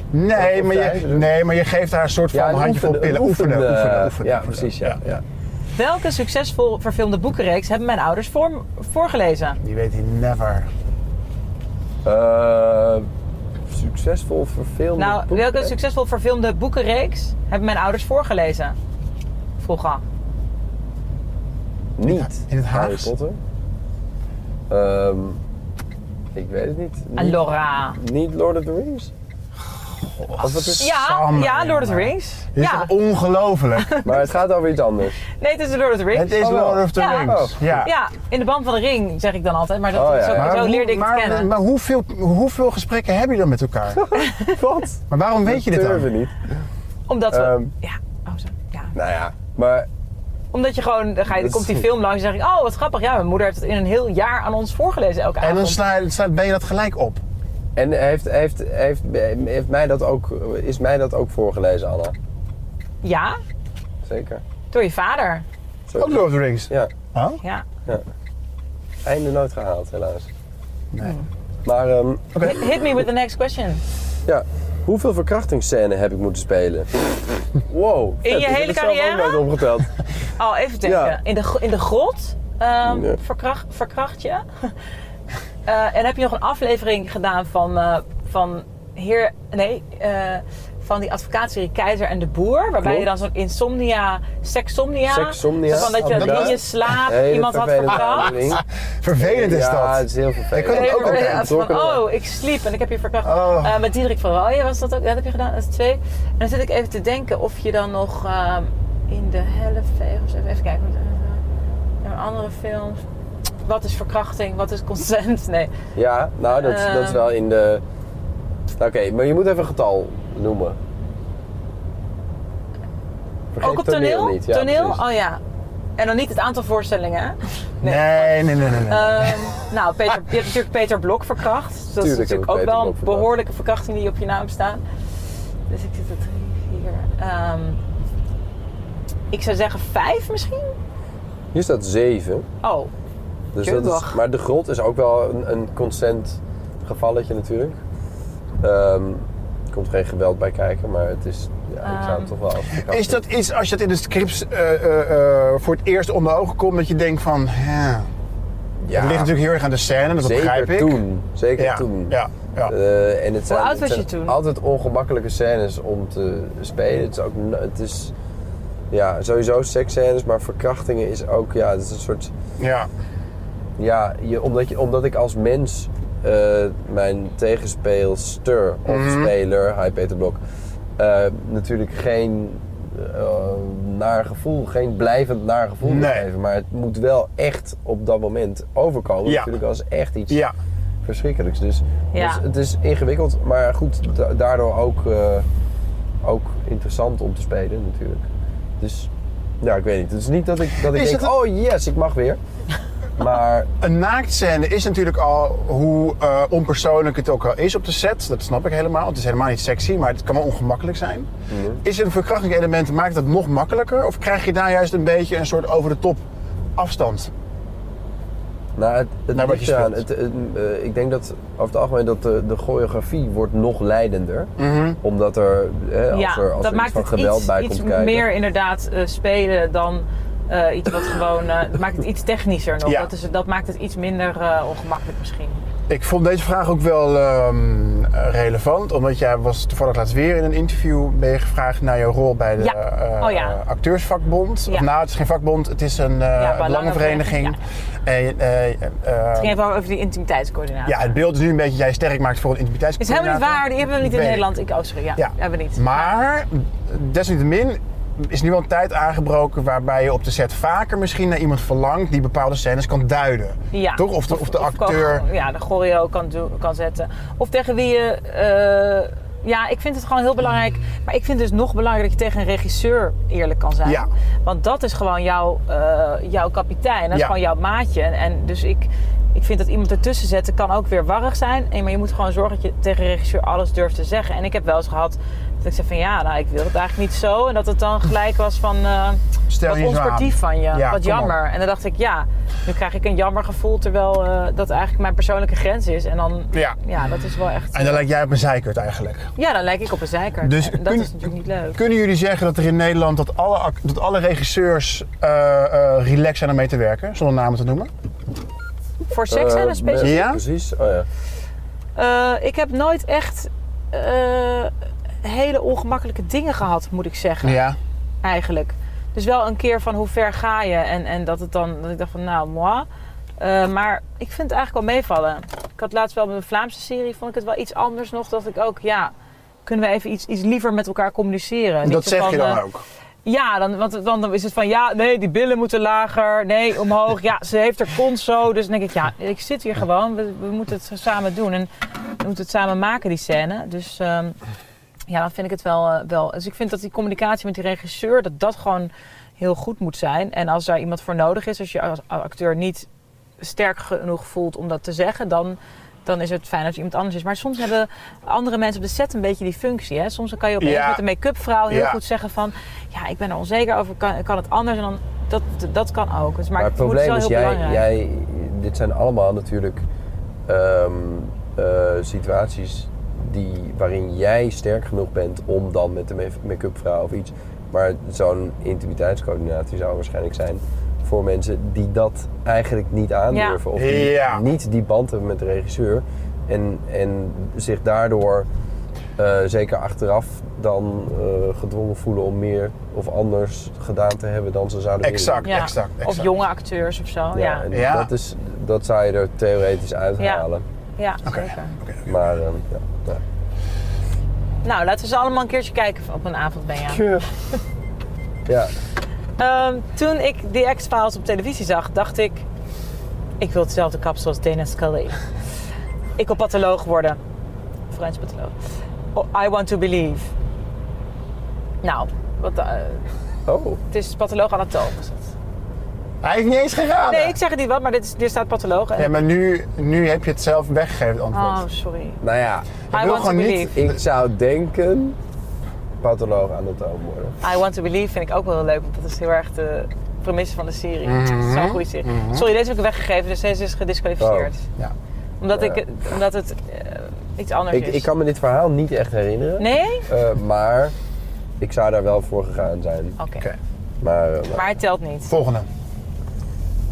B: Nee maar,
D: thuis
B: je,
D: doen.
B: nee, maar je geeft haar een soort van
D: dus- ja,
B: handjevol
D: oefenen, eh,
B: pillen. Oefenen, oefenen, oefenen.
D: Ja,
B: oefenen.
D: precies, ja. ja.
C: Welke succesvol verfilmde boekenreeks hebben mijn ouders voor, voorgelezen?
B: Die weet hij never.
D: Eh, succesvol verfilmd.
C: Nou, welke succesvol verfilmde boekenreeks hebben mijn ouders voorgelezen? Vroeger.
D: Niet.
B: In het
D: Harry
B: Haags?
D: Potter. Ehm, ik weet het niet. niet.
C: Laura.
D: Niet Lord of the Rings. Of wat is-
C: Ja,
B: Samen,
C: ja, Lord of the
B: jongen.
C: Rings.
B: Dit is
C: Ja.
B: toch ongelooflijk?
D: Maar het gaat over iets anders.
C: Nee, het is Lord of the Rings.
B: het is
D: Oh, wel.
B: Lord of the
C: Ja.
B: Rings.
D: Oh.
B: Ja.
C: Ja, in de band van de ring zeg ik dan altijd. Maar dat,
D: Oh, ja,
C: zo,
D: ja.
C: Eh, zo
B: hoe-
C: leerde ik het
B: maar-
C: kennen.
B: Maar hoeveel, hoeveel gesprekken heb je dan met elkaar?
D: Wat?
B: Maar waarom weet je dit
D: durven
B: dan?
D: niet.
C: Omdat we...
D: Ehm.
C: ja, oh zo. Ja,
D: Nou ja, maar
C: Omdat je gewoon, dan, ga je, dan komt die film langs en zeg ik, oh wat grappig, ja, mijn moeder heeft het in een heel jaar aan ons voorgelezen elke
B: En
C: avond.
B: dan sla, sla, ben je dat gelijk op.
D: en heeft, heeft, heeft, heeft mij dat ook, is mij dat ook voorgelezen, Anna?
C: Ja,
D: zeker.
C: Door je vader.
D: Zo-
B: Ook Lord of the Rings.
D: Ja,
B: Oh?
C: Ja.
D: einde nooit gehaald helaas.
B: Nee.
D: Maar ehm,
C: Hit me with the next question.
D: ja, hoeveel verkrachtingsscènes heb ik moeten spelen? Wow. vet,
C: je
D: ik heb
C: hele
D: het zelf ook
C: carrière?
D: nooit opgeteld.
C: Oh, even denken.
D: Ja.
C: In, de, gro- in de grot ehm,
D: Ja.
C: verkracht, verkracht je. Eh, en heb je nog een aflevering gedaan van, eh, van Heer. Nee, eh, van die advocaatserie Keizer en de Boer. Waarbij
D: Klopt.
C: je dan zo'n insomnia, seksomnia.
D: Seksomnia.
C: Zo van dat je
B: Inderdaad.
C: in je slaap
D: Hele
C: iemand had
D: vervelende
C: verkracht.
D: aandoening.
B: Ah, Vervelend is
D: Ja, het
B: dat.
D: is heel vervelend.
B: Ik kan
C: Nee,
B: ook
C: maar
B: altijd
C: ja, van,
D: betrokken worden.
C: oh, ik sliep en ik heb je verkracht.
B: Oh.
C: Eh, met Diederik van Rooijen was dat ook. Dat heb je gedaan, dat is twee. En dan zit ik even te denken of je dan nog ehm, in de helft of zo. Even kijken. wat, eh, eh, andere films. Wat is verkrachting? Wat is consent? Nee.
D: Ja, nou dat, dat is
C: Ehm.
D: wel in de... Oké, maar je moet even een getal noemen. Vergeet
C: ook op toneel?
D: niet. Ja,
C: toneel?
D: precies.
C: Oh ja. En dan niet het aantal voorstellingen. hè?
B: Nee, nee, nee, nee. nee.
C: Ehm, nou, Peter, je hebt natuurlijk Peter Blok verkracht. Dus dat is
D: Tuurlijk heb ik
C: natuurlijk ook
D: Peter
C: wel
D: Blok
C: een
D: verkracht.
C: behoorlijke verkrachting die op je naam staat. Dus ik zit er drie, vier. ehm, ik zou zeggen vijf misschien?
D: Hier staat 7.
C: Oh,
D: Dus dat is,
C: Tuurlijk.
D: maar de grot is ook wel een, een consent gevalletje natuurlijk. Ehm, er komt geen geweld bij kijken, maar het is... Ja, ik zou
C: Ehm.
D: het toch wel als verkrachting-
B: Is dat iets, als je dat in de scripts eh, eh, eh, voor het eerst onder ogen komt, dat je denkt van, hè,
D: Ja,
B: het ligt natuurlijk heel erg aan de scène, dat begrijp
D: zeker
B: ik.
D: toen. Zeker
B: Ja,
D: toen.
B: ja, ja.
D: Eh, en het zijn,
C: oud
D: het
C: was je
D: zijn
C: toen?
D: Altijd ongemakkelijke scènes om te spelen. Het is ook, no- het is, ja, sowieso seksscènes, maar verkrachtingen is ook, ja, het is een soort,
B: ja.
D: ja, je, omdat, je, omdat ik als mens eh, mijn tegenspeelster of
B: Mhm.
D: speler, hi Peter Blok, eh, natuurlijk geen eh, naar gevoel, geen blijvend naar gevoel moet
B: Nee.
D: geven. Maar het moet wel echt op dat moment overkomen.
B: Ja.
D: Natuurlijk als echt iets
B: ja.
D: verschrikkelijks. Dus,
C: Ja.
D: dus het is ingewikkeld, maar goed, da- daardoor ook, eh, ook interessant om te spelen natuurlijk. Dus ja, ik weet niet. Het is niet dat ik, dat ik
B: Is
D: denk,
B: het een-
D: oh yes, ik mag weer. Maar
B: Een naaktscène is natuurlijk al hoe eh, onpersoonlijk het ook al is op de set. Dat snap ik helemaal. Het is helemaal niet sexy, maar het kan wel ongemakkelijk zijn. Is een verkrachtingselement, maakt dat nog makkelijker? Of krijg je daar juist een beetje een soort over de top afstand?
D: nou, het, het
B: Naar wat
D: ligt
B: je
D: eraan.
B: speelt.
D: Het- het, eh, ik denk dat over het algemeen dat de, de choreografie wordt nog leidender.
B: Mhm.
D: Omdat er, eh, als
C: ja. dat
D: er, als er iets
C: maakt
D: van
C: het
D: geweld
C: iets,
D: bij
C: iets
D: komt kijken.
C: meer inderdaad eh, spelen dan eh, iets wat gewoon... eh, het maakt het iets technischer nog.
B: Ja.
C: Dat, is, dat maakt het iets minder eh, ongemakkelijk misschien.
B: Ik vond deze vraag ook wel ehm, relevant, omdat jij was toevallig laatst weer in een interview ben je gevraagd naar je rol bij de
C: Ja.
B: eh,
C: Oh ja.
B: eh, acteursvakbond. Of
C: Ja.
B: nou, het is geen vakbond, het is een eh belangenvereniging.
C: belangenvereniging,
B: En, eh, eh, eh,
C: Het ging even over die intimiteitscoördinatie.
B: ja, het beeld is nu een beetje dat jij sterk maakt voor een intimiteits.
C: is helemaal niet waar. Die hebben we niet in
B: Weet ik.
C: Nederland. Ik, oh, sorry. Ja,
B: Ja.
C: hebben we niet.
B: Maar desalniettemin is nu al een tijd aangebroken waarbij je op de set vaker misschien naar iemand verlangt die bepaalde scènes kan duiden.
C: Ja.
B: Toch? Of de, of de
C: kan-
B: acteur.
C: ja, de choreo kan, doen- kan zetten. Of tegen wie je. eh, ja, ik vind het gewoon heel belangrijk. Maar ik vind het dus nog belangrijker dat je tegen een regisseur eerlijk kan zijn.
B: Ja.
C: Want dat is gewoon jouw, eh, jouw kapitein. Dat is
B: Ja.
C: gewoon jouw maatje. En, en dus ik, ik vind dat iemand ertussen zetten kan ook weer warrig zijn. En, maar je moet gewoon zorgen dat je tegen een regisseur alles durft te zeggen. En ik heb wel eens gehad dat ik zei van ja, nou ik wil het eigenlijk niet zo. En dat het dan gelijk was van. eh,
B: Stel je
C: wat
B: niet zo aan.
C: onsportief van je.
B: Ja,
C: wat
B: kom op.
C: jammer. En dan dacht ik, ja, nu krijg ik een jammer gevoel terwijl eh, dat eigenlijk mijn persoonlijke grens is. En dan, ja,
B: Ja.
C: dat is wel echt.
B: En dan lijkt jij op een zeikert eigenlijk.
C: ja, dan lijk ik op een zeiker.
B: Dus
C: en dat
B: kun-
C: is natuurlijk niet leuk.
B: Kunnen jullie zeggen dat er in Nederland dat alle, ac- dat alle regisseurs eh, eh, relaxed zijn om mee te werken, zonder namen te noemen?
C: Voor seks zijn
D: Eh,
C: er specifiek.
B: Ja?
D: Precies, oh ja.
C: Eh, ik heb nooit echt eh, hele ongemakkelijke dingen gehad, moet ik zeggen.
B: Ja.
C: eigenlijk. Dus wel een keer van hoe ver ga je en, en dat het dan, dat ik dacht van nou, moi. Eh, maar ik vind het eigenlijk wel meevallen. Ik had laatst wel met een Vlaamse serie, vond ik het wel iets anders nog. Dat ik ook, ja, kunnen we even iets, iets liever met elkaar communiceren. Niet
B: Dat
C: zo
B: zeg
C: van,
B: je dan
C: eh,
B: ook.
C: Ja, dan, want dan dan is het van ja, nee, die billen moeten lager. Nee, omhoog. Ja, ze heeft er kont zo. Dus dan denk ik, ja, ik zit hier gewoon. We, we moeten het samen doen. En we moeten het samen maken, die scène. Dus ehm, ja, dan vind ik het wel, eh, wel. Dus ik vind dat die communicatie met die regisseur, dat dat gewoon heel goed moet zijn. En als daar iemand voor nodig is, als je als acteur niet sterk genoeg voelt om dat te zeggen, dan dan is het fijn dat je iemand anders is. Maar soms hebben andere mensen op de set een beetje die functie. Hè? Soms kan je opeens
B: Ja.
C: met een make-up vrouw heel
B: Ja.
C: goed zeggen van... Ja, ik ben er onzeker over, kan, kan het anders? En dan, dat, dat kan ook. Dus, maar,
D: Maar
C: het
D: het
C: moet
D: probleem
C: wel
D: is,
C: heel
D: jij,
C: belangrijk.
D: jij, dit zijn allemaal natuurlijk ehm, eh, situaties die, waarin jij sterk genoeg bent om dan met de make- make-up vrouw of iets. Maar zo'n intimiteitscoördinatie zou waarschijnlijk zijn voor mensen die dat eigenlijk niet aandurven. Of die
B: Ja.
D: niet die band hebben met de regisseur. En, en zich daardoor, eh, zeker achteraf, dan eh, gedwongen voelen om meer of anders gedaan te hebben dan ze zouden willen.
B: Exact, exact, exact.
C: Of jonge acteurs of zo. Ja,
D: Ja,
C: Oh, ja.
D: en
B: Ja.
D: Dat, is, dat zou je er theoretisch uithalen.
C: zeker.
D: Maar ehm, ja. ja.
C: Nou, laten we ze allemaal een keertje kijken op een avond, Benja.
D: ja.
C: Ehm, toen ik die X-Files op televisie zag, dacht ik... Ik wil hetzelfde kapsel als Dana Scully. ik wil patholoog worden. Forensisch patholoog. Oh, I want to believe. Nou, wat, eh,
D: Oh,
C: het is patholoog anatoom. is het.
B: Hij heeft niet eens geraden.
C: Nee, ik zeg het niet wat, maar dit, is, dit staat patholoog. en-
B: Ja, maar nu, nu heb je het zelf weggegeven, het antwoord.
C: Oh, sorry.
D: nou ja.
C: I
B: wil
C: want to
B: gewoon niet-
C: believe.
D: Ik zou denken patholoog aan het oom worden.
C: I Want to Believe vind ik ook wel heel leuk, want dat is heel erg de premisse van de serie.
D: Mhm.
C: Het is zo'n goede serie. Sorry, deze heb ik weggegeven, dus deze is gedisqualificeerd.
D: Oh.
B: Ja.
C: Omdat,
D: Ja.
C: ik, omdat het eh, iets anders
D: Ik,
C: is.
D: ik kan me dit verhaal niet echt herinneren.
C: Nee?
D: Eh, maar ik zou daar wel voor gegaan zijn.
C: Oké.
B: Oké.
D: Maar, eh,
C: Maar het telt niet.
B: Volgende.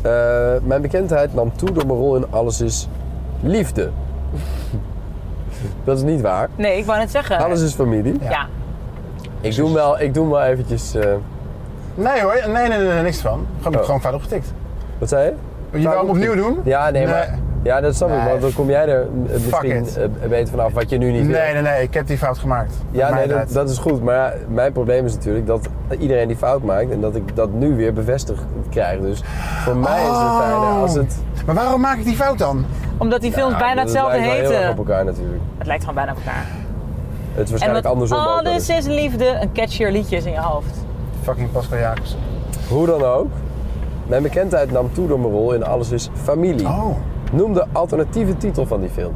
D: Eh, mijn bekendheid nam toe door mijn rol in Alles is Liefde. dat is niet waar.
C: Nee, ik wou net zeggen.
D: Alles is familie.
C: Ja. ja.
D: Ik doe hem wel, ik doe hem wel eventjes... eh,
B: Nee hoor, nee, nee, nee, nee, niks van. Gewoon,
D: Oh.
B: gewoon fout opgetikt.
D: wat zei je?
B: Je wou hem opnieuw doen?
D: Ja, nee, maar... Ja, dat snap ik,
B: Nee.
D: want dan kom jij er eh, misschien
B: it.
D: eh, beter vanaf wat je nu niet wil.
B: Nee, nee, nee, ik heb die fout gemaakt.
D: Ja,
B: Mijn
D: nee, dat,
B: tijd.
D: dat is goed. Maar ja, mijn probleem is natuurlijk dat iedereen die fout maakt en dat ik dat nu weer bevestigd krijg. Dus voor mij is
B: Oh.
D: het fijner als het...
B: Maar waarom maak ik die fout dan?
C: Omdat die films
D: Ja,
C: bijna
D: dat
C: hetzelfde
D: lijkt wel heel erg op
C: heten.
D: elkaar natuurlijk.
C: Het lijkt gewoon bijna op elkaar.
D: Het is
C: En
D: waarschijnlijk
C: wat
D: andersom ook. wel
C: alles
D: eens.
C: is liefde, een catchier liedje is in je hoofd.
B: Fucking Pascal Jacobs.
D: dus Hoe dan ook, mijn bekendheid nam toe door mijn rol in Alles is Familie.
B: Oh.
D: Noem de alternatieve titel van die film.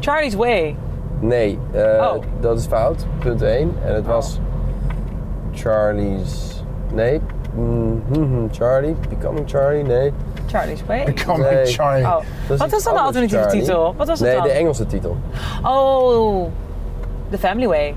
C: Charlie's Way.
D: Nee, eh,
C: Oh.
D: dat is fout. Punt 1. En het was Charlie's... Nee, mm, hmm, hmm, Charlie, Becoming Charlie, nee.
C: Charlie's Way.
B: Coming
D: Nee.
B: Charlie.
C: Oh.
D: Dat
C: Wat
D: iets
C: was dan de
D: anders,
C: alternatieve
D: Charlie.
C: titel? Wat was het
D: nee,
C: dan?
D: de Engelse titel.
C: Oh. The Family Way.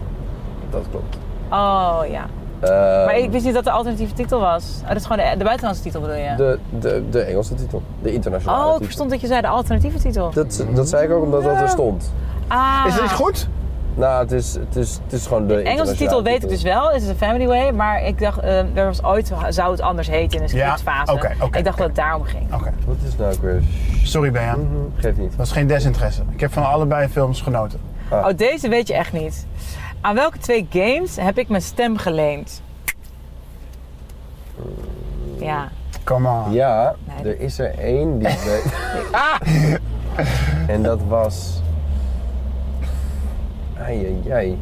D: Dat klopt.
C: Oh ja.
D: Eh,
C: Maar ik wist niet dat de alternatieve titel was. Oh, dat is gewoon de, de buitenlandse titel bedoel je?
D: de, de, de Engelse titel. De internationale
C: oh, ik
D: titel.
C: verstond dat je zei de alternatieve titel.
D: Dat, dat zei ik ook omdat dat er stond.
C: ah.
B: Is dit goed?
D: Nou, het is, het is, het is gewoon de,
C: De Engelse titel weet ik dus wel, is het een Family Way, maar ik dacht, eh, er was ooit, zou het anders heten in de
B: Ja,
C: scriptfase.
B: oké, oké,
C: ik dacht dat het daarom ging.
B: Oké.
C: dus
D: Wat is nou ook weer?
B: Sorry, Benjan.
D: Geef niet.
B: Dat is geen desinteresse. Ik heb van allebei films genoten.
D: Ah.
C: Oh, deze weet je echt niet. Aan welke twee games heb ik mijn stem geleend?
D: Hmm.
C: Ja,
B: Come on.
D: Ja,
C: Nee.
D: er is er één die ik weet. En dat was. Ai, ai, ai.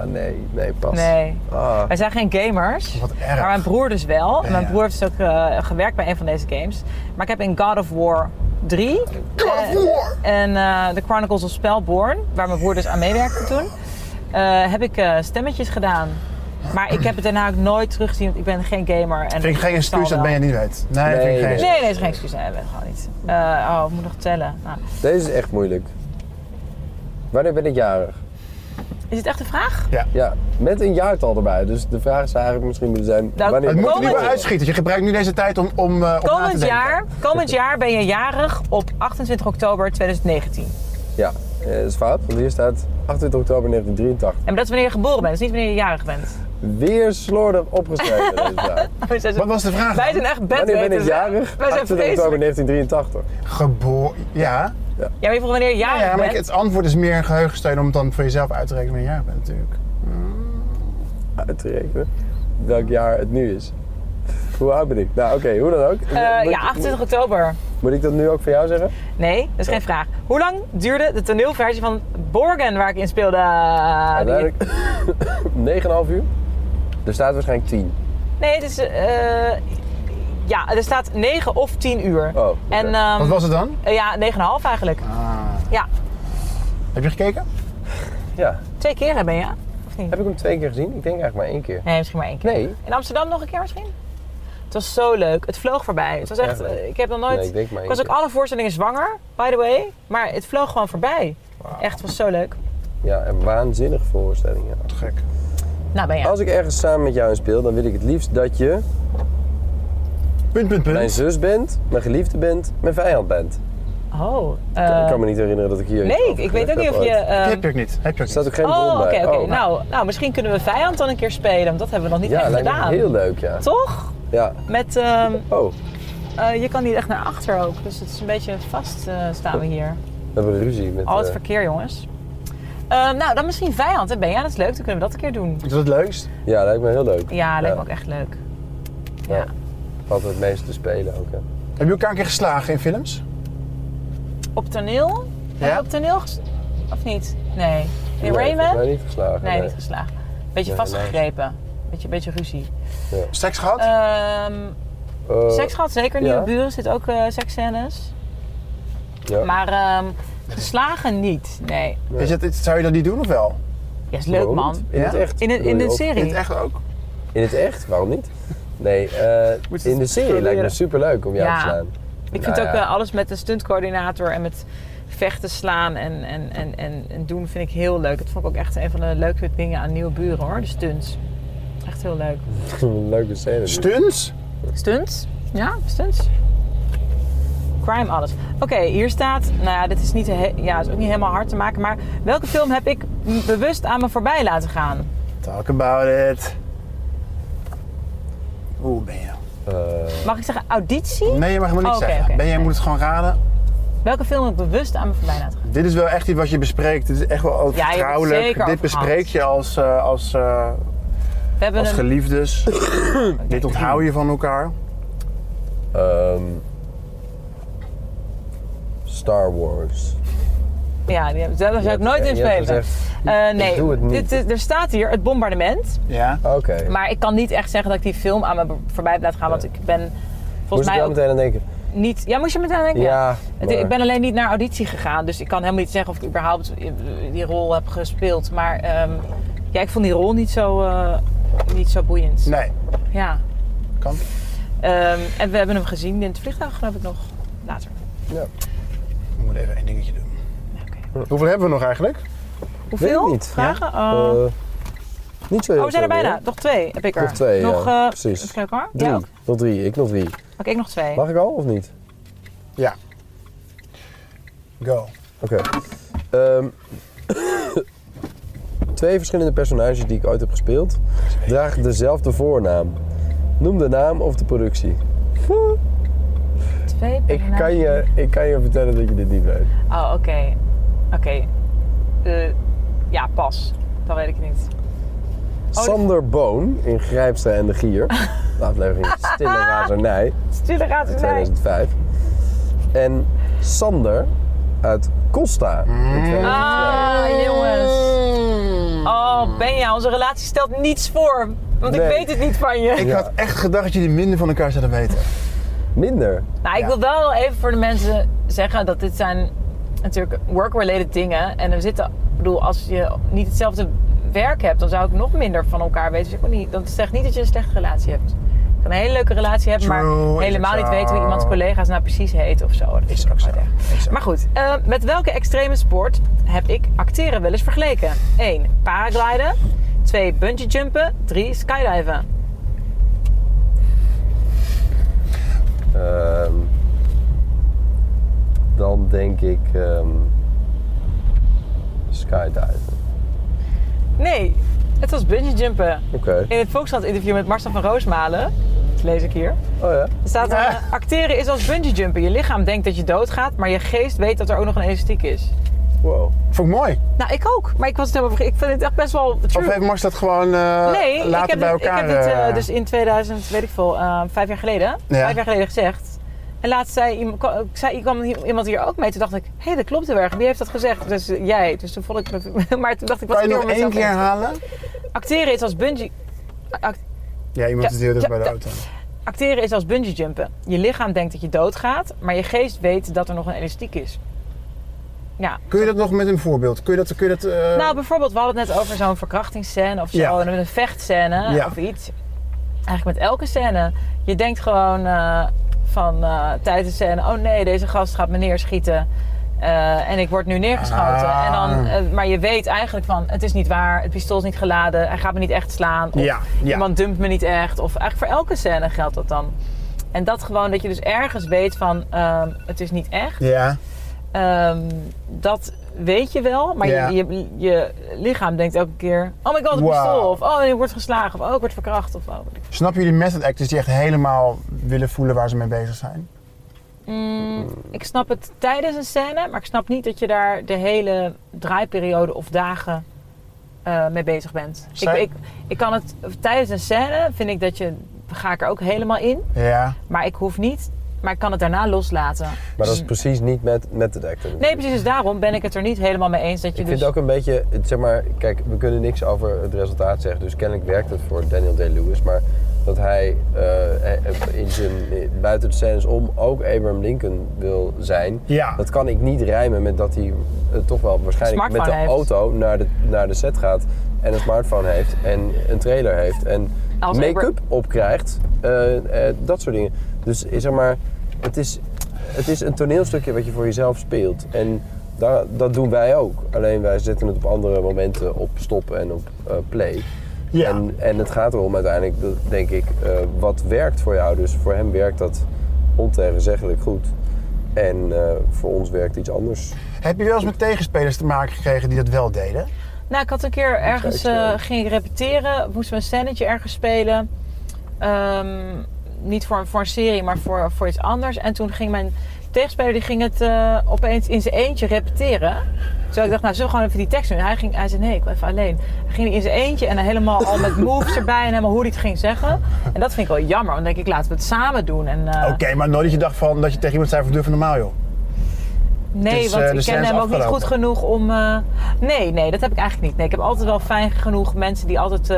D: Ah, nee, nee, pas.
C: nee.
D: Ah,
C: Wij zijn geen gamers.
B: Wat erg.
C: Maar mijn broer dus wel. En Mijn
B: Ja.
C: broer heeft dus ook eh, gewerkt bij een van deze games. Maar ik heb in God of War 3
B: God of War!
C: en eh The Chronicles of Spellborn, waar mijn broer dus aan meewerkte toen, eh, heb ik eh, stemmetjes gedaan. Maar ik heb het daarna ook nooit teruggezien, want ik ben geen gamer. En
B: Vind ik geen
C: zal
B: excuus dat
C: wel.
B: Benjan niet weet. Nee, vind ik
D: Nee,
B: geen
D: nee.
B: excuus.
C: Nee, nee, dat is geen excuus. Nee, dat weet ik gewoon niet. Eh, oh, ik moet nog tellen. Nou,
D: deze is echt moeilijk. Wanneer ben ik jarig?
C: is het echt een vraag?
D: Ja, met een jaartal erbij. Dus de vraag zou eigenlijk misschien moeten zijn.
C: Nou,
D: wanneer
B: Het moet er nu
D: ben ik
C: Komend-
B: wel
D: jarig?
B: uitschieten. Je gebruikt nu deze tijd om, om, eh, om na te
C: Komend
B: denken.
C: jaar, komend jaar ben je jarig op 28 oktober 2019.
D: Ja, eh, dat is fout, want hier staat 28 oktober 1983.
C: En dat is wanneer je geboren bent, dus niet wanneer je jarig bent.
D: Weer slordig opgeschreven deze vraag.
C: Wij zijn zo-
B: Wat was de vraag?
C: Wij zijn echt
D: Wanneer ben ik
C: bedwetens.
D: jarig?
C: Wij
D: 28
C: zijn vreselijk.
D: oktober 1983.
B: Geboren. Ja.
C: Ja, maar je vroeg wanneer je jarig
B: ja, maar ik-
C: bent.
B: het antwoord is meer een geheugensteun om het dan voor jezelf uit te rekenen wanneer je jaar bent natuurlijk.
D: Uitrekenen welk jaar het nu is. Hoe oud ben ik? Nou, oké, hoe dan ook.
C: Eh,
D: Moet-
C: ja, Ah, 28 oktober.
D: Moet ik dat nu ook voor jou zeggen?
C: Nee, dat is geen vraag. Hoe lang duurde de toneelversie van Borgen waar ik in speelde?
D: Nou, Uiteindelijk 9,5 uur. Er staat waarschijnlijk 10.
C: Nee, het is... eh, ja, er staat 9 of 10 uur.
D: Oh, oké.
C: en, ehm,
B: Wat was het dan?
C: eh, Ja, 9,5 eigenlijk.
B: Ah,
C: Ja,
B: Heb je gekeken?
D: Ja.
C: twee keer ben je, of niet?
D: Heb ik hem twee keer gezien? Ik denk eigenlijk maar één keer.
C: Nee, misschien maar één keer.
D: Nee.
C: In Amsterdam nog een keer misschien? Het was zo leuk. Het vloog voorbij. Het was
D: Ja,
C: echt,
D: leuk.
C: eh, ik heb nog nooit...
D: Nee, ik denk maar één
C: was ook
D: keer.
C: alle voorstellingen zwanger, by the way. Maar het vloog gewoon voorbij. Echt, het was zo leuk.
D: Ja, en waanzinnige voorstellingen.
B: Wat gek.
C: Nou, ben je.
D: Als ik ergens samen met jou in speel, dan wil ik het liefst dat je
B: Punt, punt, punt.
C: Hm?
D: mijn zus bent, mijn geliefde bent, mijn vijand bent.
C: Oh.
D: ik
C: eh,
D: kan me niet herinneren dat ik hier. iets
C: nee, ik,
D: over
C: ik weet ook
D: gezegd
C: niet
D: heb
C: of je...
D: ooit.
C: ehm,
B: heb je ook niet. Heb je ook
D: Er
B: niet.
D: staat ook geen
C: oh,
D: bron
C: oké,
D: bij.
C: oké.
D: Oh.
C: Nou, nou, misschien kunnen we Vijand dan een keer spelen. Want dat hebben we nog niet
D: ja,
C: echt
D: lijkt me
C: gedaan.
D: heel leuk, ja.
C: Toch?
D: Ja.
C: Met, ehm,
D: Oh,
C: eh, je kan niet echt naar achter ook. Dus het is een beetje vast eh, staan we hier.
D: we hebben ruzie met.
C: Al het
D: eh,
C: verkeer, jongens. Ehm, nou, dan misschien Vijand. Hè, ben je? Dat is leuk. Dan kunnen we dat een keer doen.
B: Is dat het leukst?
D: ja, lijkt me heel leuk.
C: Ja, lijkt me ook echt leuk. Ja.
D: Ja. Valt het meeste te spelen ook. Hè.
B: Heb je elkaar een keer geslagen in films?
C: Op toneel? Hebben we op toneel ges- Of niet? Nee. In Rayman?
D: Nee,
C: Nee,
D: niet geslagen.
C: niet geslagen. Beetje
D: Nee,
C: vastgegrepen. Beetje, beetje ruzie.
B: Seks gehad?
C: Ehm
D: Eh,
C: seks gehad zeker.
D: ja.
C: Nieuwe buren zit ook eh seksscènes.
D: ja.
C: Maar ehm, geslagen niet. Nee.
B: Is dat, is- zou je dat niet doen of wel?
C: Ja, is leuk
D: Waarom
C: man.
D: niet? In het
B: Ja?
D: echt.
C: In, een-
D: bedoel
C: in
D: je,
C: de
D: of-
B: In
C: serie.
B: het echt ook?
D: In het echt? Waarom niet? Nee, eh,
B: Moet je
D: in de
B: het
D: serie lijkt me
B: proberen?
D: superleuk om jou
C: Ja.
D: te slaan.
C: Ik
D: Nou
C: vind ook
D: ja.
C: eh, alles met een stuntcoördinator en met vechten slaan en, en, en, en, en doen vind ik heel leuk. Dat vond ik ook echt een van de leukste dingen aan nieuwe buren hoor. De stunts. Echt heel leuk.
D: Een leuke scène. dit.
B: Stunts?
C: Stunts? Ja, stunts. Crime, alles. Oké, hier staat. Nou ja, dit is, niet, he- ja, is ook niet helemaal hard te maken. Maar welke film heb ik m- bewust aan me voorbij laten gaan?
B: Talk about it. Hoe ben je nou?
D: Eh,
C: Mag ik zeggen auditie?
B: Nee, je mag helemaal niks
C: Oh, oké,
B: zeggen.
C: oké.
B: ben jij moet het gewoon raden.
C: Welke film heb ik bewust aan me voorbij laten gaan?
B: Dit is wel echt iets wat je bespreekt. Dit is echt wel
C: hebt het
B: vertrouwelijk.
C: zeker
B: Dit
C: over gehad.
B: bespreek je als, eh, als, eh,
C: We hebben
B: als
C: een.
B: geliefdes. Dit onthoud je van elkaar.
D: ehm, Star Wars.
C: Ja, die heb, daar zou ik
D: hebt-
C: nooit in
D: je hebt
C: spelen.
D: gezegd,
C: Eh, nee,
D: ik doe het niet.
C: Dit, is- er staat hier het bombardement.
B: Ja.
D: Oké.
C: Maar ik kan niet echt zeggen dat ik die film aan me be- voorbij heb laten gaan. Want ik ben
D: Moest
C: volgens
D: ik
C: mij
D: daar
C: ook
D: meteen aan denken?
C: niet. Ja, moest je meteen denken?
D: Ja,
C: Het-
D: maar-
C: Ik ben alleen niet naar auditie gegaan, dus ik kan helemaal niet zeggen of ik überhaupt eh, die rol heb gespeeld. Maar ehm, ja, ik vond die rol niet zo, eh, niet zo boeiend.
B: Nee.
C: Ja.
B: Kan.
C: Ehm, en we hebben hem gezien in het vliegtuig, geloof ik nog. Later.
D: Ja.
B: Ik moet even één dingetje doen.
C: Oké.
B: Hoeveel hebben we nog eigenlijk?
C: Hoeveel?
D: niet.
C: Vragen?
D: Eh,
C: Oh.
D: niet zo heel
C: oh, we zijn er
D: veel
C: bijna.
D: meer.
C: Nog twee heb ik er.
D: Nog twee,
C: Nog,
D: ja.
C: eh,
D: Precies.
C: even kijken hoor.
D: Drie.
C: Ja, ook.
D: Nog drie. Ik nog drie.
C: Oké, ik nog twee.
D: Mag ik al of niet?
B: Ja. Go.
D: Oké. Ehm, twee verschillende personages die ik ooit heb gespeeld dragen dezelfde voornaam. Noem de naam of de productie.
C: Twee
D: Ik
C: personages.
D: kan je, ik kan je vertellen dat je dit niet weet.
C: Oh, oké. Oké. Eh, ja, pas. Dat weet ik niet. dat-
D: Sander Boon in Grijpster en de Gier. De aflevering Stille Razernij
C: Stille gaat
D: uit
C: het zijn.
D: 2005. En Sander uit Costa. in 2000.
C: Mm. Ah, jongens.
B: Mm.
C: Oh, Benja, onze relatie stelt niets voor. Want
D: Nee.
C: ik weet het niet van je.
B: Ik
D: Ja.
B: had echt gedacht dat jullie minder van elkaar zouden weten.
D: Minder.
C: nou, ik
B: ja.
C: wil wel even voor de mensen zeggen dat dit zijn natuurlijk work-related dingen. En we zitten, ik bedoel, als je niet hetzelfde werk hebt, dan zou ik nog minder van elkaar weten. Dus ik wil niet, dat zegt niet dat je een slechte relatie hebt. Je kan een hele leuke relatie hebben,
B: True,
C: maar
B: is
C: helemaal
B: ook
C: niet
B: zo.
C: weten wie iemands collega's nou precies heet of zo. Dat vind
B: Is
C: ik
B: ook zo.
C: nooit echt.
B: Is ook
C: Maar goed, eh, met welke extreme sport heb ik acteren wel eens vergeleken? 1. Paragliden. 2. Bungee jumpen. 3. Skydiven.
D: Ehm, dan denk ik ehm skydiven.
C: Nee, het was bungee jumpen.
D: Oké.
C: In het Volkskrant interview met Marcel van Roosmalen, dat lees ik hier,
D: Oh ja.
C: staat er, eh, acteren is als bungee jumpen. Je lichaam denkt dat je doodgaat, maar je geest weet dat er ook nog een elastiek is.
D: Wow.
B: Vond ik mooi.
C: Nou, ik ook, maar ik was het helemaal vergeten. Ik vind het echt best wel
B: Of
C: true.
B: heeft Mars dat gewoon eh,
C: Nee, ik
B: later
C: heb,
B: bij
C: dit, ik
B: elkaar?
C: heb dit eh,
B: eh,
C: dus in 2000, weet ik veel, eh, vijf jaar geleden, vijf jaar geleden gezegd. En laatst zei iemand, ik zei, ik kwam hier- iemand hier ook mee. Toen dacht ik, hé, dat klopt heel erg. Wie heeft dat gezegd? Dus eh, jij. Dus toen vond ik, me- maar toen dacht ik, wat
B: Kan je
C: ik
B: nog één keer halen?
C: Acteren is als bungee... act-
B: Ja, iemand
C: Ja,
B: is heel dicht
C: ja,
B: bij de
C: ja.
B: auto.
C: Acteren is als bungee jumpen. Je lichaam denkt dat je doodgaat, maar je geest weet dat er nog een elastiek is. Ja.
B: Kun je dat nog met een voorbeeld? Kun je dat... Kun je dat eh,
C: Nou, bijvoorbeeld, we hadden het net over zo'n verkrachtingsscène of zo.
B: Ja.
C: En een vechtscène
B: Ja.
C: of iets. Eigenlijk met elke scène. Je denkt gewoon eh, van eh, tijdens de scène... oh nee, deze gast gaat me neerschieten. eh, en ik word nu neergeschoten.
B: Ah.
C: En dan, eh, maar je weet eigenlijk van, het is niet waar. Het pistool is niet geladen. Hij gaat me niet echt slaan. Of
B: Ja, ja.
C: iemand dumpt me niet echt. Of eigenlijk voor elke scène geldt dat dan. En dat gewoon, dat je dus ergens weet van, ehm, het is niet echt.
B: ja,
C: Ehm, dat weet je wel, maar
B: Ja.
C: je, je, je lichaam denkt elke keer: oh my god, een
B: Wow.
C: pistool. Of oh, ik word geslagen. Of oh, ik word verkracht. Of oh, wat ik-
B: Snappen jullie method actors die echt helemaal willen voelen waar ze mee bezig zijn?
C: Mm, ik snap het tijdens een scène, maar ik snap niet dat je daar de hele draaiperiode of dagen eh, mee bezig bent. Ik,
B: Zij-
C: ik, ik kan het tijdens een scène, vind ik dat je, ga ik er ook helemaal in,
B: Ja.
C: maar ik hoef niet, maar ik kan het daarna loslaten.
D: Maar dat is precies niet met, met het actor.
C: Nee, precies, dus daarom ben ik het er niet helemaal mee eens dat je
D: Ik
C: dus.
D: vind ook een beetje, het- zeg maar, kijk, we kunnen niks over het resultaat zeggen, dus kennelijk werkt het voor Daniel Day-Lewis, maar dat hij eh, in zijn, buiten de scènes om ook Abraham Lincoln wil zijn,
B: Ja.
D: dat kan ik niet rijmen met dat hij eh, toch wel waarschijnlijk met
C: Smartphone
D: de
C: heeft.
D: auto naar de, naar de set gaat en een smartphone heeft en een trailer heeft en
C: Als
D: make-up opkrijgt, eh, eh, dat soort dingen. Dus eh, zeg maar, het is, het is een toneelstukje wat je voor jezelf speelt. En daar, dat doen wij ook. Alleen wij zetten het op andere momenten op stop en op eh, play.
B: Ja.
D: En, en het gaat erom uiteindelijk, dat- denk ik, eh, wat werkt voor jou. Dus voor hem werkt dat ontegenzeggelijk goed. En eh, voor ons werkt iets anders.
B: Heb je wel eens met tegenspelers te maken gekregen die dat wel deden?
C: Nou, ik had een keer ergens
D: Kijk,
C: eh,
D: eh.
C: ging ik repeteren, moesten we een scènetje ergens spelen. Ehm, niet voor, voor een serie, maar voor, voor iets anders. En toen ging mijn tegenspeler die ging het eh, opeens in zijn eentje repeteren. Zo ik dacht, nou, zullen we gewoon even die tekst doen? En hij, ging, hij zei, nee, ik wil even alleen. Hij ging in zijn eentje en dan helemaal al met moves erbij en helemaal hoe hij het ging zeggen. En dat vind ik wel jammer, want dan denk ik, laten we het samen doen. En, eh,
B: Oké, maar nooit dat je dacht van, dat je tegen iemand zei van, doe even normaal joh.
C: Nee,
B: Dus,
C: want
B: eh, de
C: ik
B: scène
C: ken
B: is
C: hem ook niet
B: afgelopen.
C: goed genoeg om. eh, nee, nee, dat heb ik eigenlijk niet. Nee, ik heb altijd wel fijn genoeg mensen die altijd eh,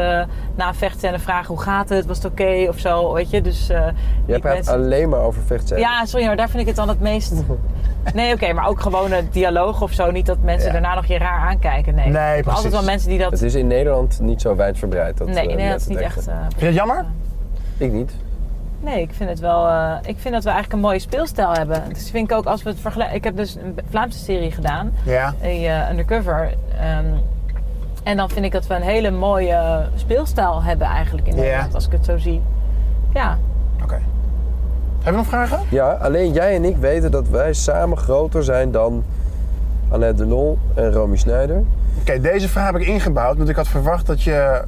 C: na een vechtscène vragen hoe gaat het, was het oké of zo, weet je. Dus eh,
D: Jij
C: die
D: praat
C: mensen-
D: alleen maar over vechten.
C: Ja, sorry, maar daar vind ik het dan het meest. Nee, oké, maar ook gewone dialoog of zo, niet dat mensen
B: Ja.
C: daarna nog je raar aankijken. Nee,
B: Nee,
C: Maar
B: precies.
C: altijd wel mensen die dat.
D: Het is in Nederland niet zo wijdverbreid. Dat,
C: nee, nee,
D: eh,
C: dat
D: net
C: is niet
D: het
C: echt.
D: acten.
C: eh,
B: Vind je dat jammer?
D: Ik niet.
C: Nee, ik vind het wel. eh, ik vind dat we eigenlijk een mooie speelstijl hebben. Dus vind ik ook als we het vergelijken. Ik heb dus een Vlaamse serie gedaan.
B: Ja.
C: een, eh, undercover. ehm, en dan vind ik dat we een hele mooie speelstijl hebben eigenlijk in
B: Ja.
C: Nederland, als ik het zo zie. Ja,
B: Oké. Heb je nog vragen?
D: Ja, alleen jij en ik weten dat wij samen groter zijn dan Annette Delon en Romy Schneider.
B: Oké, deze vraag heb ik ingebouwd, want ik had verwacht dat je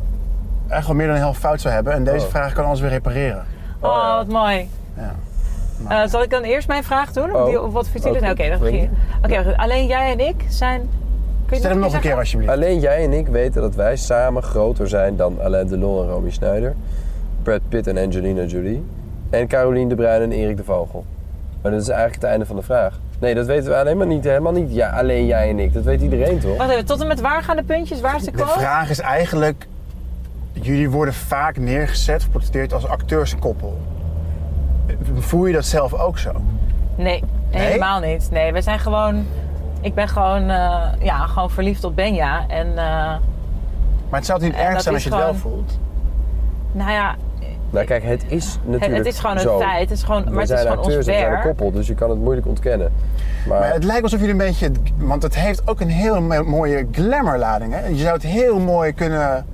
B: echt wel meer dan een helft fout zou hebben. En deze
D: Oh.
B: vraag kan alles weer repareren.
C: oh,
D: ja.
C: wat mooi.
B: Ja.
C: Eh, zal ik dan eerst mijn vraag doen? Of
D: Oh.
C: die- of wat vindt jullie?
D: Oh,
C: Nou, Oké, dan
D: weet
C: begin
D: je.
C: je. Oké, goed. alleen jij en ik zijn... Kun je
B: Stel hem nog een keer
C: zeggen?
B: alsjeblieft.
D: Alleen jij en ik weten dat wij samen groter zijn dan Alain Delon en Romy Schneider, Brad Pitt en Angelina Jolie en Caroline de Bruin en Erik de Vogel. Maar dat is eigenlijk het einde van de vraag. Nee, dat weten we alleen maar niet. Helemaal niet. Ja, alleen jij en ik. Dat weet iedereen toch?
C: Wacht even, tot en met waar gaan de puntjes? Waar is de
B: De
C: quote?
B: vraag is eigenlijk, jullie worden vaak neergezet of portretteerd als acteurskoppel. Voel je dat zelf ook zo?
C: Nee, helemaal niet. Nee, we zijn gewoon... Ik ben gewoon, eh, ja, gewoon verliefd op Benja. En... eh,
B: Maar het zou het niet
C: En
B: erg
C: dat
B: zijn
C: is
B: als je het wel
C: gewoon-
B: voelt?
C: nou ja,
D: Nou kijk, het is natuurlijk
C: het, het is gewoon een
D: zo.
C: feit. Het is gewoon, maar
D: we
C: het is
D: zijn
C: gewoon ons
D: acteurs en we zijn een
C: werk.
D: koppel, dus je kan het moeilijk ontkennen.
B: Maar het lijkt alsof jullie een beetje... Want het heeft ook een heel me- mooie glamourlading. Hè? Je zou het heel mooi kunnen...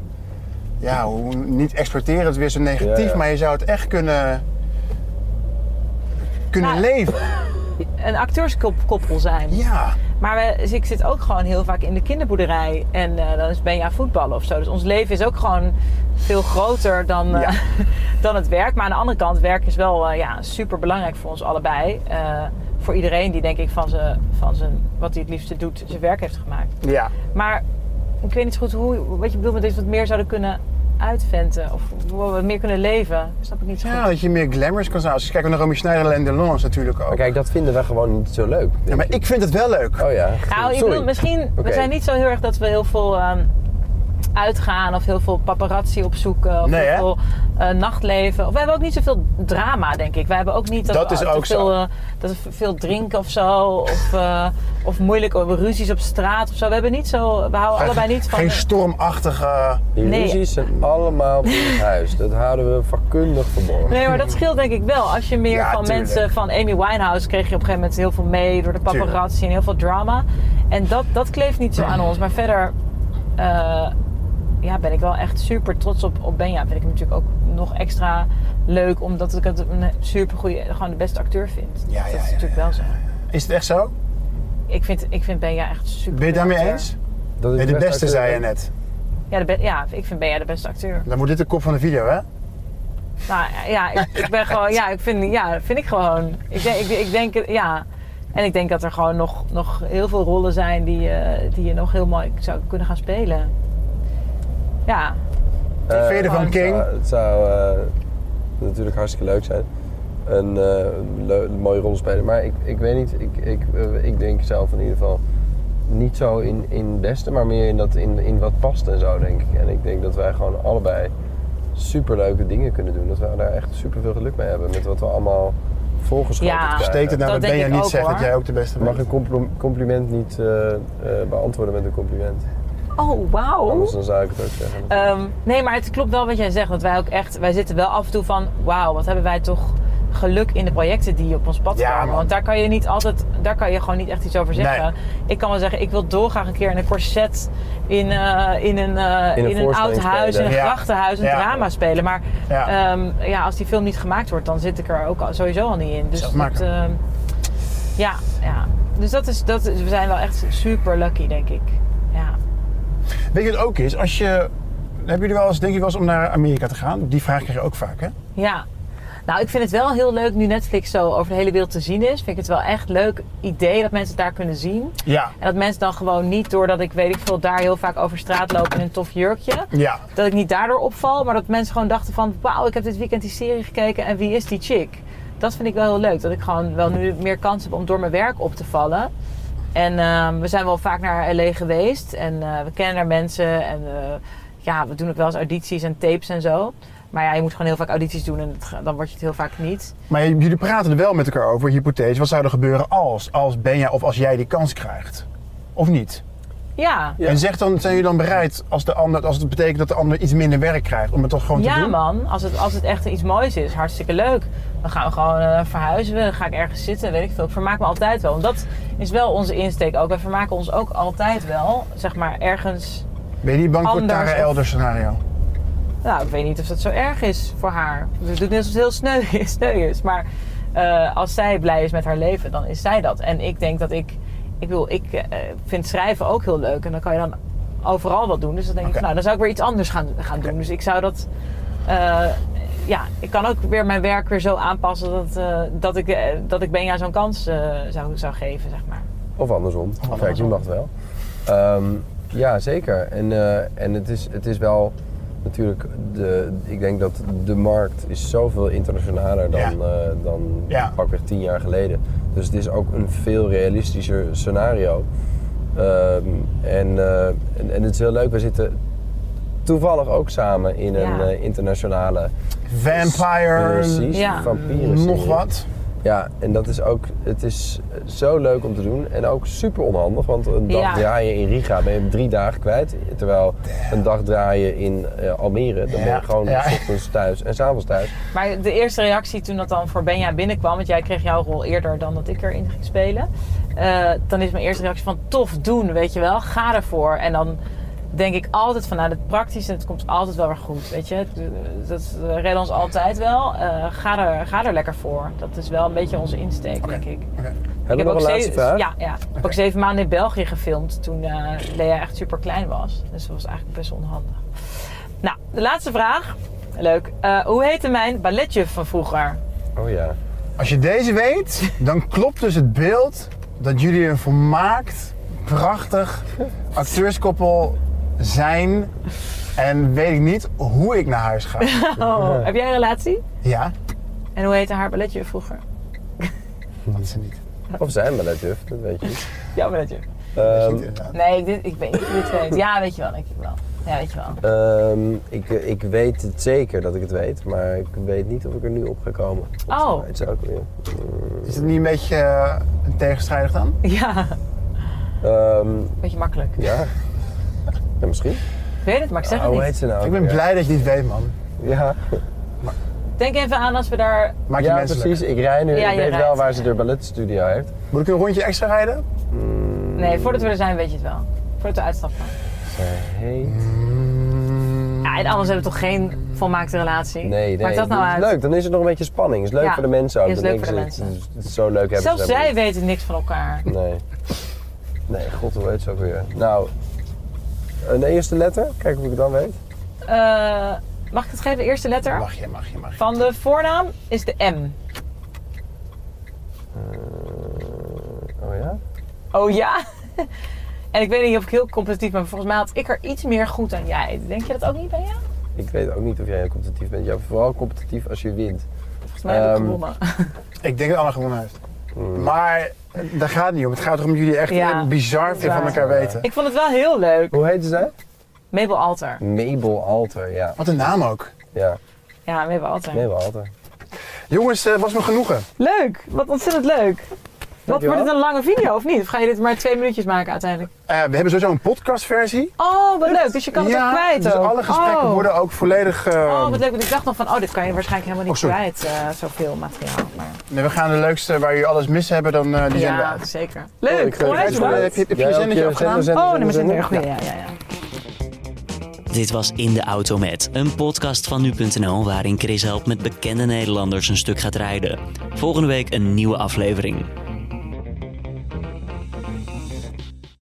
B: Ja, hoe- niet exploiteren, het is weer zo negatief.
D: Ja, ja.
B: Maar je zou het echt kunnen... Kunnen
C: Nou,
B: leven.
C: een acteurskoppel zijn.
B: Ja.
C: Maar we, dus ik zit ook gewoon heel vaak in de kinderboerderij. En eh, dan is Benja voetballen of zo. Dus ons leven is ook gewoon veel groter dan, eh,
B: Ja.
C: dan het werk. Maar aan de andere kant, werk is wel eh, ja, super belangrijk voor ons allebei. Eh, voor iedereen die denk ik van, ze, van zijn, wat hij het liefste doet, zijn werk heeft gemaakt.
B: Ja.
C: Maar ik weet niet zo goed hoe, wat je bedoelt met dit, wat meer zouden kunnen uitventen. Of hoe we meer kunnen leven. Snap ik niet zo goed.
B: Ja, dat je meer glamours kan zijn. Als je kijkt naar Romy Schneider en Delon is natuurlijk ook.
D: Maar kijk, dat vinden we gewoon niet zo leuk.
B: Ja, maar ik vind het wel leuk.
D: Oh ja.
B: eh,
C: Nou, ik
D: Sorry.
C: bedoel, misschien,
D: Oké.
C: we zijn niet zo heel erg dat we heel veel ehm, uitgaan of heel veel paparazzi opzoeken. Of
B: Nee,
C: heel
B: hè?
C: veel eh, nachtleven. Of we hebben ook niet zoveel drama, denk ik. We hebben ook niet dat,
B: Dat
C: we
B: is
C: te
B: ook zo.
C: veel, eh, dat we veel drinken of zo. Of, eh, of moeilijk of ruzies op straat of zo. We hebben niet zo. We houden allebei niet van.
B: Geen stormachtige...
D: Die
C: Nee.
D: ruzies zijn allemaal in het huis. Dat houden we vakkundig verborgen.
C: Nee, maar dat scheelt denk ik wel. Als je meer
B: Ja,
C: van
B: tuurlijk.
C: mensen van Amy Winehouse kreeg je op een gegeven moment heel veel mee door de paparazzi en heel veel drama. En dat, dat kleeft niet zo aan ons. Maar verder eh, ja, ben ik wel echt super trots op, op Benja. Vind ik hem natuurlijk ook nog extra leuk, omdat ik het een super goede, gewoon de beste acteur vind.
B: Ja,
C: dat
B: ja, ja,
C: is natuurlijk wel zo.
B: Is het echt zo?
C: Ik vind, ik vind Benja echt super.
B: Ben je daarmee eens?
D: Dat is
B: Nee, de
D: best
B: beste
D: uit-
B: zei je net.
C: Ja, de be- ja, ik vind Benja de beste acteur.
B: Dan wordt dit de kop van de video, hè?
C: Nou ja, ik, ik ben gewoon, ja, ik vind, ja, dat vind ik gewoon. Ik denk, ik, ik denk, ja. En ik denk dat er gewoon nog, nog heel veel rollen zijn die, eh, die je nog heel mooi zou kunnen gaan spelen. Ja,
D: Eh,
B: Verder van
D: het
B: King.
D: zou- Het zou eh, natuurlijk hartstikke leuk zijn. Een eh, leu- een mooie rol spelen. Maar ik, ik weet niet, ik, ik, eh, ik denk zelf in ieder geval niet zo in, in het beste, maar meer in, dat, in, in wat past en zo, denk ik. En ik denk dat wij gewoon allebei superleuke dingen kunnen doen. Dat we daar echt super veel geluk mee hebben met wat we allemaal voorgeschoten
C: Ja.
D: krijgen.
B: Steekt het nou
C: dat
B: dat Benja
C: denk ik
B: niet
C: ook,
B: zegt dat
C: hoor.
B: jij ook de beste
D: Mag
B: bent?
D: een complo- compliment niet eh, eh, beantwoorden met een compliment.
C: oh wauw.
D: Anders dan zou ik het ook zeggen.
C: Ehm, nee, maar het klopt wel wat jij zegt. Dat wij ook echt, wij zitten wel af en toe van, wauw, wat hebben wij toch geluk in de projecten die op ons pad
B: Ja,
C: komen.
B: man.
C: Want daar kan je niet altijd, daar kan je gewoon niet echt iets over zeggen.
B: Nee.
C: Ik kan wel zeggen, ik wil dolgraag een keer in een corset in, eh, in een, eh,
D: In een
C: in een oud
D: voorstelling
C: huis, in
D: spelen.
C: een
B: Ja.
C: grachtenhuis, een
B: Ja.
C: drama spelen. Maar
B: Ja.
C: ja. ja, als die film niet gemaakt wordt, dan zit ik er ook al- sowieso al niet in. Dus
B: Zelf maken.
C: dat, ehm, ja, ja. Dus dat is, dat is, we zijn wel echt super lucky, denk ik. Ja.
B: Weet je wat ook is? Als je... Hebben jullie wel eens, denk je wel eens om naar Amerika te gaan? Die vraag krijg je ook vaak, hè?
C: Ja. Nou, ik vind het wel heel leuk nu Netflix zo over de hele wereld te zien is. Vind ik het wel echt leuk idee dat mensen het daar kunnen zien.
B: Ja.
C: En dat mensen dan gewoon niet, doordat ik weet ik veel, daar heel vaak over straat lopen in een tof jurkje.
B: Ja.
C: Dat ik niet daardoor opval, maar dat mensen gewoon dachten van... Wauw, ik heb dit weekend die serie gekeken en wie is die chick? Dat vind ik wel heel leuk. Dat ik gewoon wel nu meer kans heb om door mijn werk op te vallen. En ehm, we zijn wel vaak naar L.A. geweest. En eh, we kennen daar mensen. En eh, ja, we doen ook wel eens audities en tapes en zo. Maar ja, je moet gewoon heel vaak audities doen en dat ga- dan word je het heel vaak niet.
B: Maar j- jullie praten er wel met elkaar over, hypothese. Wat zou er gebeuren als, als Benja of als jij die kans krijgt? Of niet?
C: Ja,
D: Ja.
B: En zeg dan, zijn jullie dan bereid als, de ander, als het betekent dat de ander iets minder werk krijgt om het toch gewoon te
C: ja
B: doen?
C: man, als het, als het echt iets moois is, hartstikke leuk. Dan gaan we gewoon eh, verhuizen, dan ga ik ergens zitten, weet ik veel. Ik vermaak me altijd wel. Want dat is wel onze insteek ook. Wij vermaken ons ook altijd wel, zeg maar, ergens...
B: Ben je niet bang voor het
C: Anders
B: Tara
C: of-
B: Elder scenario?
C: Nou, ik weet niet of dat zo erg is voor haar. Ze doet net alsof het heel sneu, sneu is. Maar eh, als zij blij is met haar leven, dan is zij dat. En ik denk dat ik... Ik bedoel, ik eh, vind schrijven ook heel leuk. En dan kan je dan overal wat doen. Dus dan denk
B: Oké.
C: ik, nou, dan zou ik weer iets anders gaan, gaan doen. Dus ik zou dat... eh, ja, ik kan ook weer mijn werk weer zo aanpassen... dat, eh, dat, ik, eh, dat ik Benja zo'n kans eh, zou, zou geven, zeg maar.
D: Of andersom. Kijk, die mag wel. Ehm, ja, zeker. En, eh, en het, is, het is wel natuurlijk, de, ik denk dat de markt is zoveel internationaler dan,
B: Ja.
D: eh, dan
B: Ja.
D: pakweg tien jaar geleden. Dus het is ook een veel realistischer scenario. Ehm, en, eh, en, en het is heel leuk, we zitten toevallig ook samen in een
C: Ja.
D: eh, internationale...
B: Vampire,
D: Precies,
C: Ja.
D: vampieren.
B: nog wat?
D: Ja, en dat is ook, het is zo leuk om te doen en ook super onhandig, want een dag
C: Ja.
D: draaien in Riga ben je drie dagen kwijt, terwijl een dag draaien in eh, Almere, dan ben
B: Ja,
D: je gewoon
B: ja.
D: s ochtends thuis en s'avonds thuis.
C: Maar de eerste reactie toen dat dan voor Benja binnenkwam, want jij kreeg jouw rol eerder dan dat ik erin ging spelen. eh, dan is mijn eerste reactie van tof doen, weet je wel, ga ervoor. En dan denk ik altijd van nou, dat praktisch en het komt altijd wel weer goed, weet je. Het- eh, Dat is- we redden ons altijd wel. Eh, ga, er, ga er lekker voor. Dat is wel een beetje onze insteek, denk ik.
B: Oké.
D: Hebben we nog een laatste
C: zeven,
D: vraag?
C: Ja, ja. Ik heb ook zeven maanden in België gefilmd toen eh, Lea echt super klein was. Dus dat was eigenlijk best onhandig. Nou, de laatste vraag. Leuk. Eh, hoe heette mijn balletjuf van vroeger?
D: Oh ja.
B: Als je deze weet, dan klopt dus het beeld dat jullie een volmaakt, prachtig acteurskoppel zijn. En weet ik niet hoe ik naar huis ga.
C: Oh, heb jij een relatie?
B: Ja,
C: En hoe heette haar balletjuf vroeger?
B: dat is het niet.
D: Of zijn we dat, juf? Dat weet je niet.
C: Jouw balletjuf.
D: Ehm,
B: Inderdaad.
C: Nee, ik, dit, ik weet niet of je dit weet. Ja, weet je wel, denk ik wel. Ja, weet je wel.
D: Ehm, ik, ik weet het zeker dat ik het weet, maar ik weet niet of ik er nu op ga komen.
C: Oh.
D: Het is ook weer.
B: Is het niet een beetje eh, tegenstrijdig dan?
C: Ja,
D: Ehm,
C: beetje makkelijk.
D: ja. ja, misschien.
C: Ik weet het, maar ik zeg
D: Ah,
C: het
D: hoe
C: niet.
D: heet ze nou?
B: Ik
D: ook
B: ben
D: weer?
B: blij dat je dit weet, man.
D: Ja,
C: Denk even aan als we daar...
B: Maak je
D: ja
B: menselijk.
D: precies. Ik rij nu.
C: Ja,
D: ik
C: je
D: weet wel
C: rijdt.
D: waar ze de balletstudio heeft.
B: Moet ik een rondje extra rijden?
D: Mm.
C: Nee, voordat we er zijn weet je het wel. Voordat we uitstappen.
D: Ze heet...
C: Ja, en anders hebben we toch geen volmaakte relatie?
D: Mm. Nee, nee.
C: Maakt dat nou
D: is
C: uit?
D: Leuk, dan is het nog een beetje spanning. Is leuk
C: Ja,
D: voor de mensen ook.
C: is
D: Dan
C: leuk
D: denken
C: voor de
D: ze, "Het is Zo leuk hebben
C: Zelfs
D: ze dat
C: zij
D: niet."
C: weten niks van elkaar.
D: Nee. Nee, god, hoe heet ze ook weer? Nou, een eerste letter. Kijk of ik het dan weet.
C: Eh, mag ik het geven? De eerste letter?
B: Mag je, mag je, mag je.
C: Van de voornaam is de M.
D: Oh ja?
C: Oh ja? En ik weet niet of ik heel competitief ben, maar volgens mij had ik er iets meer goed aan jij. Denk je dat ook niet bij jou?
D: Ik weet ook niet of jij heel competitief bent. Jij bent vooral competitief als je wint.
C: Volgens mij heb ik
D: Ehm,
C: gewonnen.
B: Ik denk dat Anne gewonnen heeft. Maar eh, daar gaat het niet om. Het gaat erom dat jullie echt
C: Ja,
B: eh, bizar
C: is
B: veel van
C: waar.
B: elkaar weten.
C: Ik vond het wel heel leuk.
D: Hoe heette zij?
C: Mabel Alter.
D: Mabel Alter, ja.
B: Wat een naam ook.
D: Ja,
C: Ja, Mabel Alter.
D: Mabel Alter.
B: Jongens, het was me genoegen. Eh,
C: Leuk! Wat ontzettend leuk. Wat
D: Dankjewel.
C: wordt het een lange video of niet? Of ga je dit maar twee minuutjes maken uiteindelijk?
B: Eh, we hebben sowieso een podcastversie.
C: Oh, wat leuk. Dus je kan het ook kwijt
B: dus
C: ook.
B: alle gesprekken
C: Oh.
B: worden ook volledig... eh,
C: Oh, wat leuk. Want ik dacht nog van, oh, dit kan je waarschijnlijk helemaal niet
B: Oh, sorry.
C: kwijt. eh, zoveel materiaal. Maar,
B: nee, we gaan de leukste waar jullie alles mis hebben, dan eh die zenden we
C: ja,
B: uit.
C: zeker.
D: Oh,
C: Leuk.
D: ik, eh,
C: Onwijs
D: kijk ernaar
C: bedankt.
B: Heb je- heb je
D: Jij
B: je
D: ook,
B: zendetje
D: eh,
B: afgedaan?
D: zender,
C: Oh,
D: zender,
C: nee, maar zin
D: zender.
C: er. Goeie, ja, ja, ja.
A: Dit was In de Auto Met, een podcast van nu.nl waarin Chris helpt met bekende Nederlanders een stuk gaat rijden. Volgende week een nieuwe aflevering.